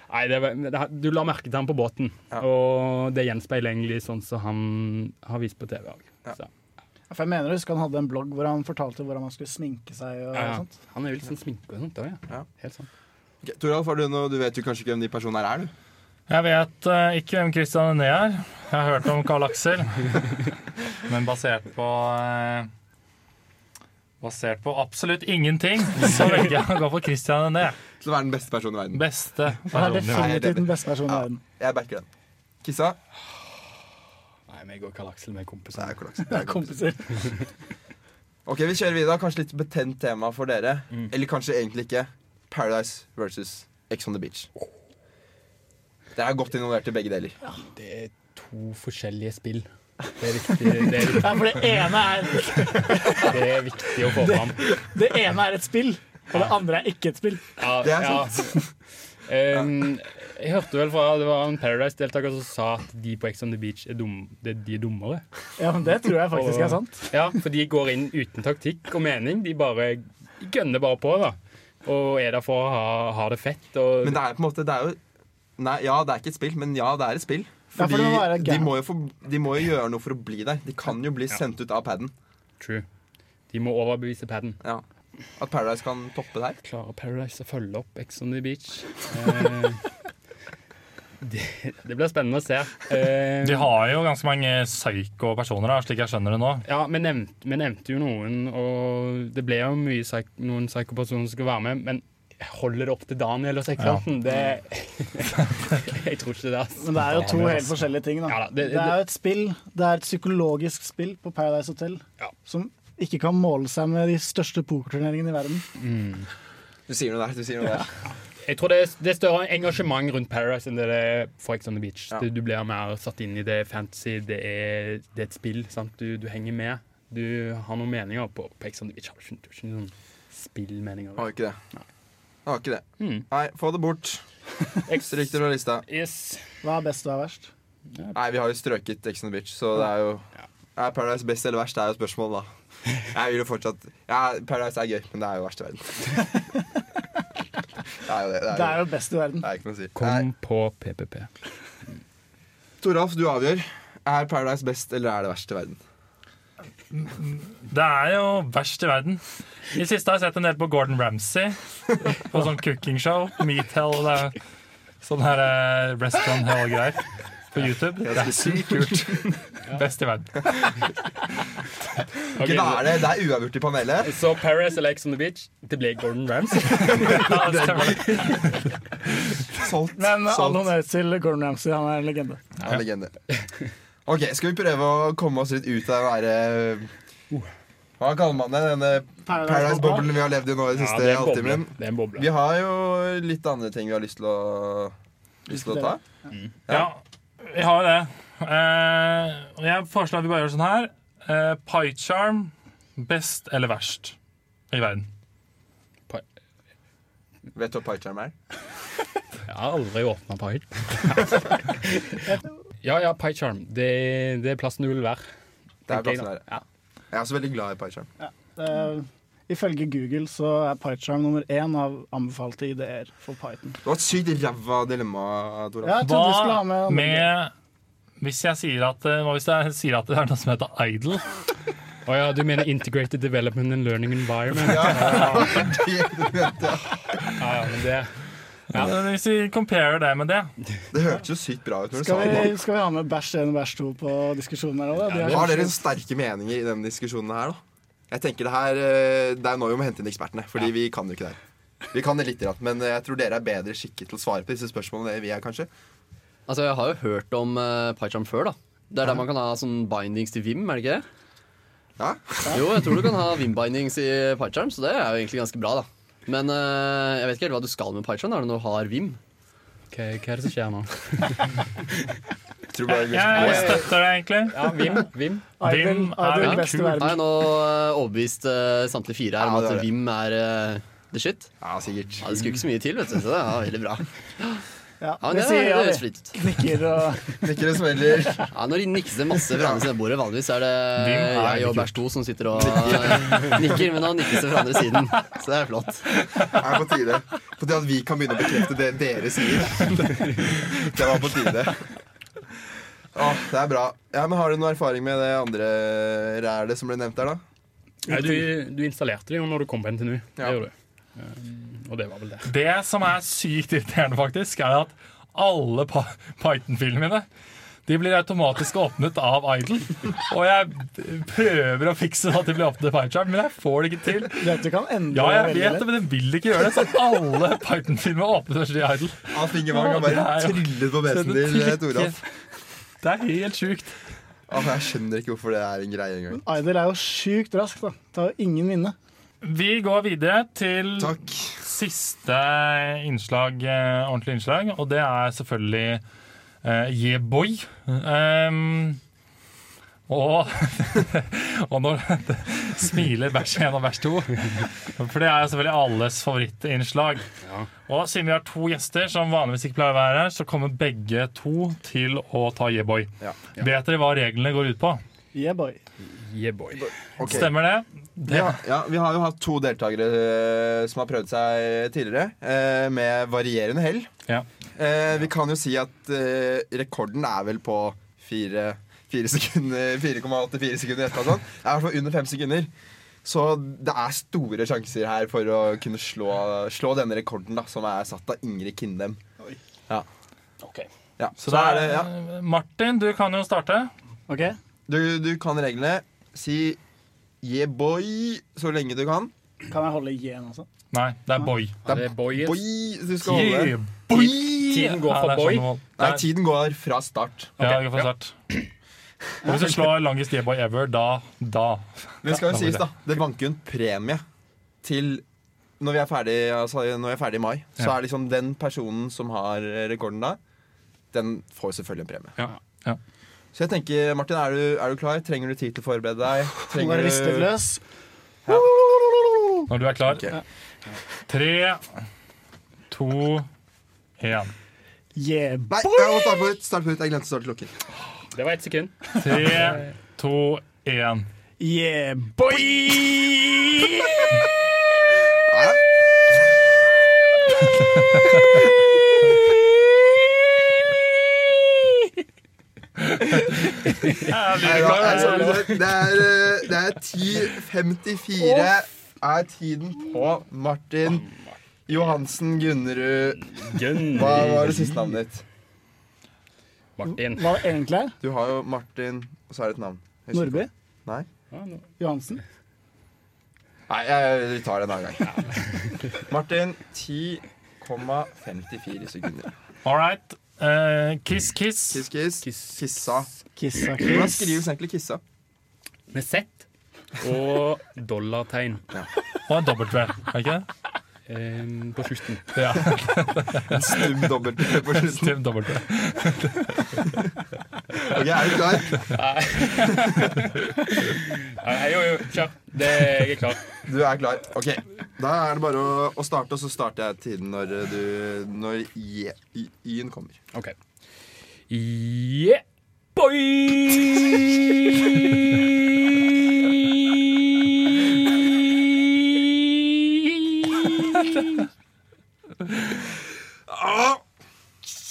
Speaker 2: Nei, det var, det, du la merke til ham på båten,
Speaker 1: Ja.
Speaker 2: og det gjenspeiler egentlig sånn som han har vist på TV òg.
Speaker 1: Ja.
Speaker 4: For jeg mener jeg husker han hadde en blogg hvor han fortalte hvordan man skulle sminke seg. og
Speaker 2: Ja,
Speaker 4: sånt.
Speaker 2: han er jo litt sånn sminke og sånt òg, ja.
Speaker 1: Ja.
Speaker 2: Helt sånn.
Speaker 1: Ok, Toralf, har du, noe, du vet jo kanskje ikke hvem de personene her er, du?
Speaker 3: Jeg vet eh, ikke hvem Christian René er. Jeg har hørt om Karl Aksel. Men basert på eh, Basert på absolutt ingenting, så velger jeg å gå for Christian René.
Speaker 1: Til å være den beste personen i verden.
Speaker 3: Beste
Speaker 4: Han
Speaker 3: personen i
Speaker 4: er
Speaker 3: verden.
Speaker 1: Nei, det-
Speaker 4: definitivt den beste personen i verden.
Speaker 1: Jeg backer den. Kissa?
Speaker 2: Nei, vi går Karl Aksel med
Speaker 1: Det
Speaker 2: kompiser.
Speaker 1: er kollaks.
Speaker 4: Det er kompiser.
Speaker 1: Ok, vi kjører videre. Kanskje litt betent tema for dere.
Speaker 4: Mm.
Speaker 1: Eller kanskje egentlig ikke. Paradise versus Ex on the Beach. Dere er godt involvert i begge deler.
Speaker 2: Det er to forskjellige spill. Det er viktig, det er,
Speaker 4: Ja, for det ene, er,
Speaker 2: det er viktig å få fram.
Speaker 4: det ene er et spill, og det andre er ikke et spill.
Speaker 2: Ja,
Speaker 1: Det er
Speaker 2: sant. Ja. Um, jeg hørte vel fra det var en Paradise-deltaker som sa at de på Ex on the Beach er, dum, det, de er dummere.
Speaker 4: Ja, men Det tror jeg faktisk er sant.
Speaker 2: Ja, for de går inn uten taktikk og mening. De bare gønner bare på, da. Og er der for å ha, ha det fett. Og
Speaker 1: Men det er på en måte Det er jo Nei, ja, det er ikke et spill, men ja, det er et spill.
Speaker 4: Ja, for
Speaker 1: Fordi
Speaker 4: det må være
Speaker 1: de,
Speaker 4: gæren.
Speaker 1: må jo få, de må jo gjøre noe for å bli der. De kan jo bli sendt ut av paden.
Speaker 2: True. De må overbevise paden.
Speaker 1: Ja. At Paradise kan toppe det her.
Speaker 2: Klarer Paradise å følge opp Ex on the Beach? Eh, det, det blir spennende å se. Eh,
Speaker 3: De har jo ganske mange psycho personer, da, slik jeg skjønner det nå.
Speaker 2: Ja, vi nevnte, vi nevnte jo noen, og det ble jo mye psyk noen psykopersoner som skulle være med, men holder det opp til Daniel og sekkfanten? Det Jeg tror ikke det, altså.
Speaker 4: Men det er jo to helt forskjellige ting. da.
Speaker 2: Ja, da,
Speaker 4: det,
Speaker 2: det-
Speaker 4: er jo et spill, det er et psykologisk spill på Paradise Hotel
Speaker 2: Ja.
Speaker 4: som ikke kan måle seg med de største pokerturneringene i verden.
Speaker 1: Du sier noe der. du sier noe der
Speaker 2: Jeg tror det er, det er større engasjement rundt Paradise enn det er for Ex on the Beach.
Speaker 1: Ja.
Speaker 2: Du, du blir mer satt inn i det fantasy, det er, det er et spill, sant? Du, du henger med. Du har noen meninger på, på Ex on the Beach. Har du ikke, du har ikke noen spillmeninger?
Speaker 1: Har jo ikke det. Har ikke det.
Speaker 2: Mm.
Speaker 1: Nei, få det bort. Stryk det fra lista.
Speaker 2: Yes.
Speaker 4: Hva er best og hva er verst?
Speaker 1: Nei, vi har jo strøket Ex on the Beach, så det er jo Er Paradise best eller verst? Det er jo spørsmålet, da. Jeg vil jo fortsatt Ja, Paradise er gøy, men det er jo verst i verden. det er jo det. Det er,
Speaker 4: Det
Speaker 1: jo,
Speaker 4: er jo best i verden.
Speaker 1: det er ikke noe å si.
Speaker 2: Kom på PPP.
Speaker 1: Nei, Toralf, du avgjør. Er Paradise best, eller er det verst i verden?
Speaker 3: Det er jo verst i verden. I siste har jeg sett en del på Gordon Ramsay. På sånn cooking show. Meat Hell. Det er sånn her eh, restaurant hell-greier på YouTube. Det er sykt kult. Best i verden.
Speaker 1: Ikke da er det, det er uavgjort i panelet.
Speaker 2: Så Paris eller Ex on the Beach, det ble Gordon Ramsay.
Speaker 3: Ja, det stemmer.
Speaker 1: Solgt.
Speaker 4: Men eh, all
Speaker 1: solgt.
Speaker 4: honnør til Gordon Ramsay, han er en legende.
Speaker 1: Ja, legende. Ok, skal vi prøve å komme oss litt ut av den derre Hva kaller man det? Denne Paradise-boblen vi har levd i nå i den
Speaker 2: Ja,
Speaker 1: siste
Speaker 2: det er en boble.
Speaker 1: halvtimen?
Speaker 2: Det er en boble.
Speaker 1: Vi har jo litt andre ting vi har lyst til å, lyst til å ta.
Speaker 3: Ja, vi har jo det. Eh, og jeg foreslår at vi bare gjør sånn her. Eh, pie charm, best eller verst i verden?
Speaker 1: Vet du hva PyCharm er?
Speaker 2: Jeg har aldri åpna pai. ja, ja, pie charm. Det, det er plassen du vil være.
Speaker 1: Det
Speaker 2: tenker
Speaker 1: er
Speaker 2: jeg
Speaker 1: plassen
Speaker 2: da.
Speaker 1: her. Jeg er også veldig glad i PyCharm.
Speaker 4: Eh, ifølge Google så er PyCharm nummer én av anbefalte ideer for Python.
Speaker 1: Det var et sykt ræva dilemma, Toralf.
Speaker 4: Ja, jeg trodde du skulle ha med,
Speaker 3: Hva med Hvis jeg sier at, eh, hva hvis jeg sier at det er noe som heter Idol?
Speaker 2: Å ja, du mener Integrated Development and Learning Environment? Ja, ja, men det
Speaker 3: Eh, Hvis vi comparer det med det
Speaker 1: Det hørtes jo sykt bra ut når du sa
Speaker 4: skal,
Speaker 1: det.
Speaker 4: vi, skal vi ha med bæsj 1 og bæsj 2 på diskusjonen her òg?
Speaker 1: Har dere sterke meninger i denne diskusjonen her, da? Jeg tenker Det her, eh, det er nå vi må hente inn ekspertene, fordi vi kan jo ikke det her. Vi kan det litt, grann, men jeg tror dere er bedre skikket til å svare på disse spørsmålene enn vi er, kanskje.
Speaker 5: Altså, jeg har jo hørt om uh, PyCharm før, da. Det er der man kan ha sånn bindings til Vim, er det ikke det?
Speaker 1: Ja?
Speaker 5: Jo, jeg tror du kan ha Vim-bindings i PyCharm, så det er jo egentlig ganske bra, da. Men eh, jeg vet ikke helt hva du skal med PyCharm når du nå har Vim.
Speaker 2: hva, hva er det som skjer nå?
Speaker 1: Tror bare vi-
Speaker 3: Jeg støtter det, egentlig.
Speaker 2: Ja, Vim. Vim.
Speaker 4: Idol,
Speaker 3: Vim er
Speaker 4: Idol
Speaker 3: en
Speaker 4: best i
Speaker 3: kul-
Speaker 5: Har
Speaker 4: verden.
Speaker 5: jeg nå eh, overbevist eh, samtlige fire her
Speaker 1: Ja,
Speaker 5: om
Speaker 1: det
Speaker 5: at
Speaker 1: er det.
Speaker 5: Vim er eh, the shit?
Speaker 1: Ja, sikkert.
Speaker 5: Ja, det skulle ikke så mye til, vet du. Så det er veldig bra.
Speaker 4: Ja,
Speaker 5: Ja, men
Speaker 4: det
Speaker 5: det,
Speaker 4: sier
Speaker 5: det
Speaker 4: jeg,
Speaker 5: høres
Speaker 4: vi.
Speaker 5: fint ut.
Speaker 4: Nikker og
Speaker 1: Nikkere smeller.
Speaker 5: Ja, Nå nikkes det masse fra andre siden av bordet. Vanligvis er det
Speaker 3: Vim er
Speaker 5: jeg og
Speaker 3: ikke
Speaker 5: Bæsj 2 som sitter og eh, nikker, men nå nikkes det fra andre siden. Så det er flott.
Speaker 1: er på tide. På tide at vi kan begynne å bekrefte det dere sier. Det var på tide. Åh, det er bra. Ja, men Har du noe erfaring med det andre rælet som ble nevnt der, da?
Speaker 2: Nei, du, du installerte det jo når du kom på NTNU. Det
Speaker 1: Ja.
Speaker 2: gjorde du. Eh, og det var vel det.
Speaker 3: Det som er sykt irriterende, faktisk, er at alle pa- Python-filmene de blir automatisk åpnet av Idol. Og jeg prøver å fikse at de blir åpnet av PyCharm, men jeg får det ikke til.
Speaker 4: Du vet du kan endre
Speaker 3: Ja, jeg
Speaker 4: veldig
Speaker 3: vet det,
Speaker 4: lett.
Speaker 3: men den vil ikke gjøre det. Så alle Python-filmer åpnes først i Idol.
Speaker 1: Alf Inge Wang har bare
Speaker 3: Ja, det er jo-
Speaker 1: trillet på besen
Speaker 3: Så det
Speaker 1: til eh,
Speaker 3: trykker.
Speaker 1: Toralf.
Speaker 3: Det er helt sjukt.
Speaker 1: Åh, jeg skjønner ikke hvorfor det er en greie engang.
Speaker 4: Idol er jo sjukt rask, da. Tar jo ingen vinne.
Speaker 3: Vi går videre til
Speaker 1: Takk.
Speaker 3: siste innslag, eh, ordentlig innslag, og det er selvfølgelig eh, Yeah Boy. Ehm, og, og når smiler bæsj 1 og bæsj 2. For det er jo selvfølgelig alles favorittinnslag. Og siden vi har to gjester som vanligvis ikke pleier å være her, så kommer begge to til å ta Yeah Boy.
Speaker 1: Ja.
Speaker 3: Vet dere hva reglene går ut på?
Speaker 4: Yeah, boy.
Speaker 2: Yeah, boy.
Speaker 1: Ok.
Speaker 3: Stemmer det?
Speaker 1: Vi har, ja, vi har jo hatt to deltakere eh, som har prøvd seg tidligere, eh, med varierende hell.
Speaker 3: Ja.
Speaker 1: Eh, vi kan jo si at eh, rekorden er vel på fire- fire sekunder- 4,84 sekunder. eller noe sånt. Det er i hvert fall under fem sekunder. Så det er store sjanser her for å kunne slå, slå denne rekorden, da, som er satt av Ingrid Kindem. Ja. Ja.
Speaker 3: Så
Speaker 1: Så
Speaker 3: det
Speaker 1: er
Speaker 3: er,
Speaker 1: det, ja.
Speaker 3: Martin, du kan jo starte.
Speaker 4: OK?
Speaker 1: du, du kan reglene. Si yeah boy så lenge du kan.
Speaker 4: Kan jeg holde J-en også?
Speaker 3: Nei, det er Boy.
Speaker 1: Det
Speaker 2: Det
Speaker 1: er
Speaker 2: er boy.
Speaker 1: boy du skal holde.
Speaker 3: Yeah, boy!
Speaker 2: Tiden går
Speaker 3: Ja, det er
Speaker 2: for boy.
Speaker 3: sånn det må-
Speaker 1: Nei,
Speaker 3: Nei,
Speaker 1: tiden går fra start.
Speaker 3: Ja, jeg går for start. Og hvis du slår longest yeah boy ever, da, da
Speaker 1: Men skal jo
Speaker 3: Ja,
Speaker 1: sies, da. Det vanker jo en premie til når vi er ferdig, altså, når vi er ferdig i mai. Så
Speaker 3: Ja.
Speaker 1: er liksom den personen som har rekorden da, den får selvfølgelig en premie.
Speaker 3: Ja. Ja.
Speaker 1: Så jeg tenker, Martin, er du, er du klar? Trenger du tid til å forberede deg?
Speaker 4: Nå
Speaker 1: Trenger
Speaker 4: er det ristet
Speaker 1: du...
Speaker 4: løs.
Speaker 3: Når du er klar.
Speaker 1: Ok.
Speaker 3: Tre, to, én.
Speaker 4: Yeah,
Speaker 1: Nei, jeg må starte på nytt. Start på nytt. Jeg glemte å starte klokken.
Speaker 2: Det var ett sekund.
Speaker 3: Tre, to, én.
Speaker 4: yeah, boy!
Speaker 1: Nei.
Speaker 3: Jeg blir
Speaker 1: Nei,
Speaker 3: ikke
Speaker 1: da,
Speaker 3: klar.
Speaker 1: altså,
Speaker 3: Jeg-
Speaker 1: det er, eh, det er 10.54 er tiden på Martin Johansen Gunnerud. Hva var det siste navnet ditt?
Speaker 2: Martin.
Speaker 4: Hva det egentlig er?
Speaker 1: Du har jo Martin, og så er det et navn. Jeg husker
Speaker 4: Nordby?
Speaker 1: Nei.
Speaker 2: Ja, nå-
Speaker 4: Johansen?
Speaker 1: Nei, jeg, vi tar det en annen gang. Martin, 10,54 sekunder.
Speaker 3: All right. Eh, kiss, kiss.
Speaker 1: Kiss, kiss.
Speaker 2: Kiss.
Speaker 1: Kissa.
Speaker 4: Kissa
Speaker 1: Hvordan
Speaker 4: Kiss.
Speaker 1: skrives egentlig kissa?
Speaker 2: Med Z og dollartegn
Speaker 3: Og en dobbelt V. Er det ikke det?
Speaker 2: eh, på slutten.
Speaker 3: Ja.
Speaker 1: En stum dobbelt på slutten.
Speaker 3: Stem dobbelt V.
Speaker 1: Ok, er du klar?
Speaker 2: Nei, jo, jo, kjør. Det, jeg er klar.
Speaker 1: Du er klar. Ok, Da er det bare å, å starte, og så starter jeg tiden når eh, du Når i- i- y-en kommer.
Speaker 2: OK. Yeah, boy!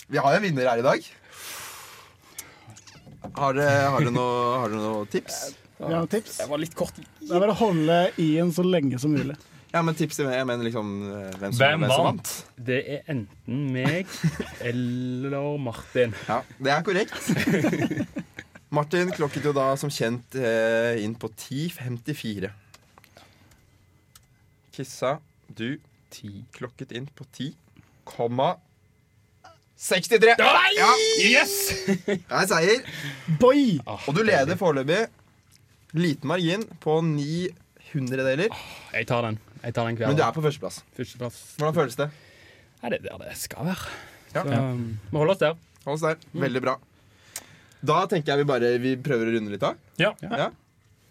Speaker 1: Vi har jo en vinner her i dag. Har dere har dere noe, har dere noe tips?
Speaker 4: Vi har noen tips.
Speaker 2: Det var litt kort.
Speaker 4: Det er bare å holde i-en så lenge som mulig.
Speaker 1: Ja, men tips til jeg mener liksom eh, hvem som,
Speaker 3: Hvem
Speaker 1: som
Speaker 3: vant?
Speaker 2: Det er enten meg eller Martin.
Speaker 1: Ja, det er korrekt. Martin klokket jo da som kjent eh, inn på 10.54. Kissa, du klokket inn på 10,63. Ja,
Speaker 2: Yes!
Speaker 1: det er seier.
Speaker 4: Boy!
Speaker 1: Og du leder foreløpig. Liten margin på ni hundredeler,
Speaker 2: Jeg tar den. Jeg tar den hver
Speaker 1: men du er på førsteplass.
Speaker 2: Førsteplass.
Speaker 1: Hvordan føles det?
Speaker 2: Nei, det er der det skal være.
Speaker 1: Ja.
Speaker 2: Så um, vi holder oss der.
Speaker 1: Hold oss der. Veldig bra. Da tenker jeg vi bare vi prøver å runde litt av.
Speaker 3: Ja.
Speaker 1: Ja.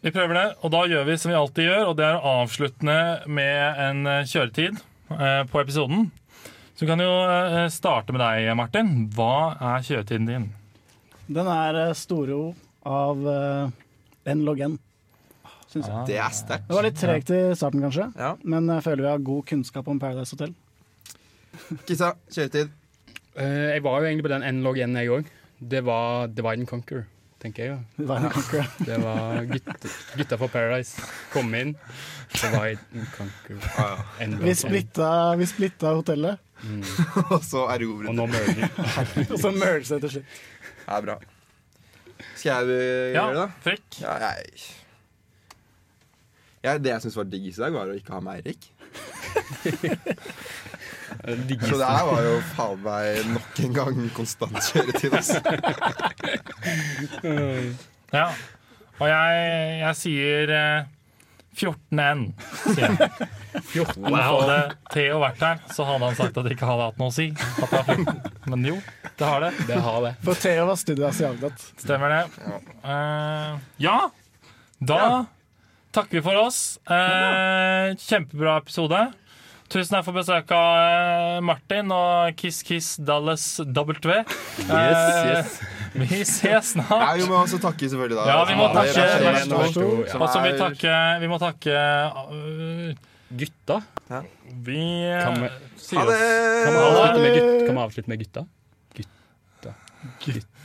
Speaker 3: Vi prøver det, og da gjør vi som vi alltid gjør, og det er å avsluttende med en eh, kjøretid eh, på episoden. Så vi kan jo eh, starte med deg, Martin. Hva er kjøretiden din?
Speaker 4: Den er eh, store O av eh, N log N, syns jeg.
Speaker 1: Det er sterkt.
Speaker 4: Det var litt tregt i starten, kanskje,
Speaker 1: Ja.
Speaker 4: men jeg føler vi har god kunnskap om Paradise Hotel.
Speaker 1: Kissa, kjøretid.
Speaker 2: Eh, jeg var jo egentlig på den N-log-en, jeg òg. Det var Divide and Conquer, tenker jeg. jo.
Speaker 4: Divine Conquer.
Speaker 2: Det var gutt, gutta fra Paradise. Kom inn. Divide and Conquer. End
Speaker 4: Vi
Speaker 2: of end.
Speaker 4: splitta, vi splitta hotellet,
Speaker 1: Og så
Speaker 2: Og
Speaker 1: erobret.
Speaker 2: nå merger.
Speaker 4: og så merget det til slutt.
Speaker 1: Det er bra. Skal jeg eh,
Speaker 3: Ja,
Speaker 1: gjøre det, da?
Speaker 3: frekk.
Speaker 1: Ja, jeg... Jeg- det jeg syns var diggest i dag, var å ikke ha med Eirik. Så det her var jo faen meg nok en gang konstant kjøretid. ass.
Speaker 3: Ja. Og jeg, jeg sier eh, 14N. Sier jeg.
Speaker 2: 14
Speaker 3: Men hadde Theo vært her, så hadde han sagt at det ikke hadde hatt noe å si. At det er 14. Men jo, det har det.
Speaker 2: Det har det.
Speaker 4: For Theo var studieass i Agdat.
Speaker 3: Stemmer det. Eh, ja, da takker vi for oss. Eh, kjempebra episode. Tusen takk for besøket av eh, Martin og Kiss Kiss Dallas W.
Speaker 5: Yes,
Speaker 3: Vi ses
Speaker 1: Ja,
Speaker 3: snart.
Speaker 1: vi må også takke selvfølgelig da.
Speaker 3: Ja, vi må
Speaker 1: Alexander,
Speaker 3: takke
Speaker 1: Rachel,
Speaker 3: Lars
Speaker 1: Lars
Speaker 3: Thor.
Speaker 1: Thor,
Speaker 2: Ja.
Speaker 1: som
Speaker 3: Og så vi
Speaker 1: er-
Speaker 3: takke, vi må takke øh,
Speaker 2: Gutta?
Speaker 3: Vi eh,
Speaker 2: Kan vi,
Speaker 3: sier
Speaker 1: Ha
Speaker 3: oss
Speaker 1: det!
Speaker 2: kan vi avslutte med, gutt, kan vi avslutte med gutta? Gutta. Gutta.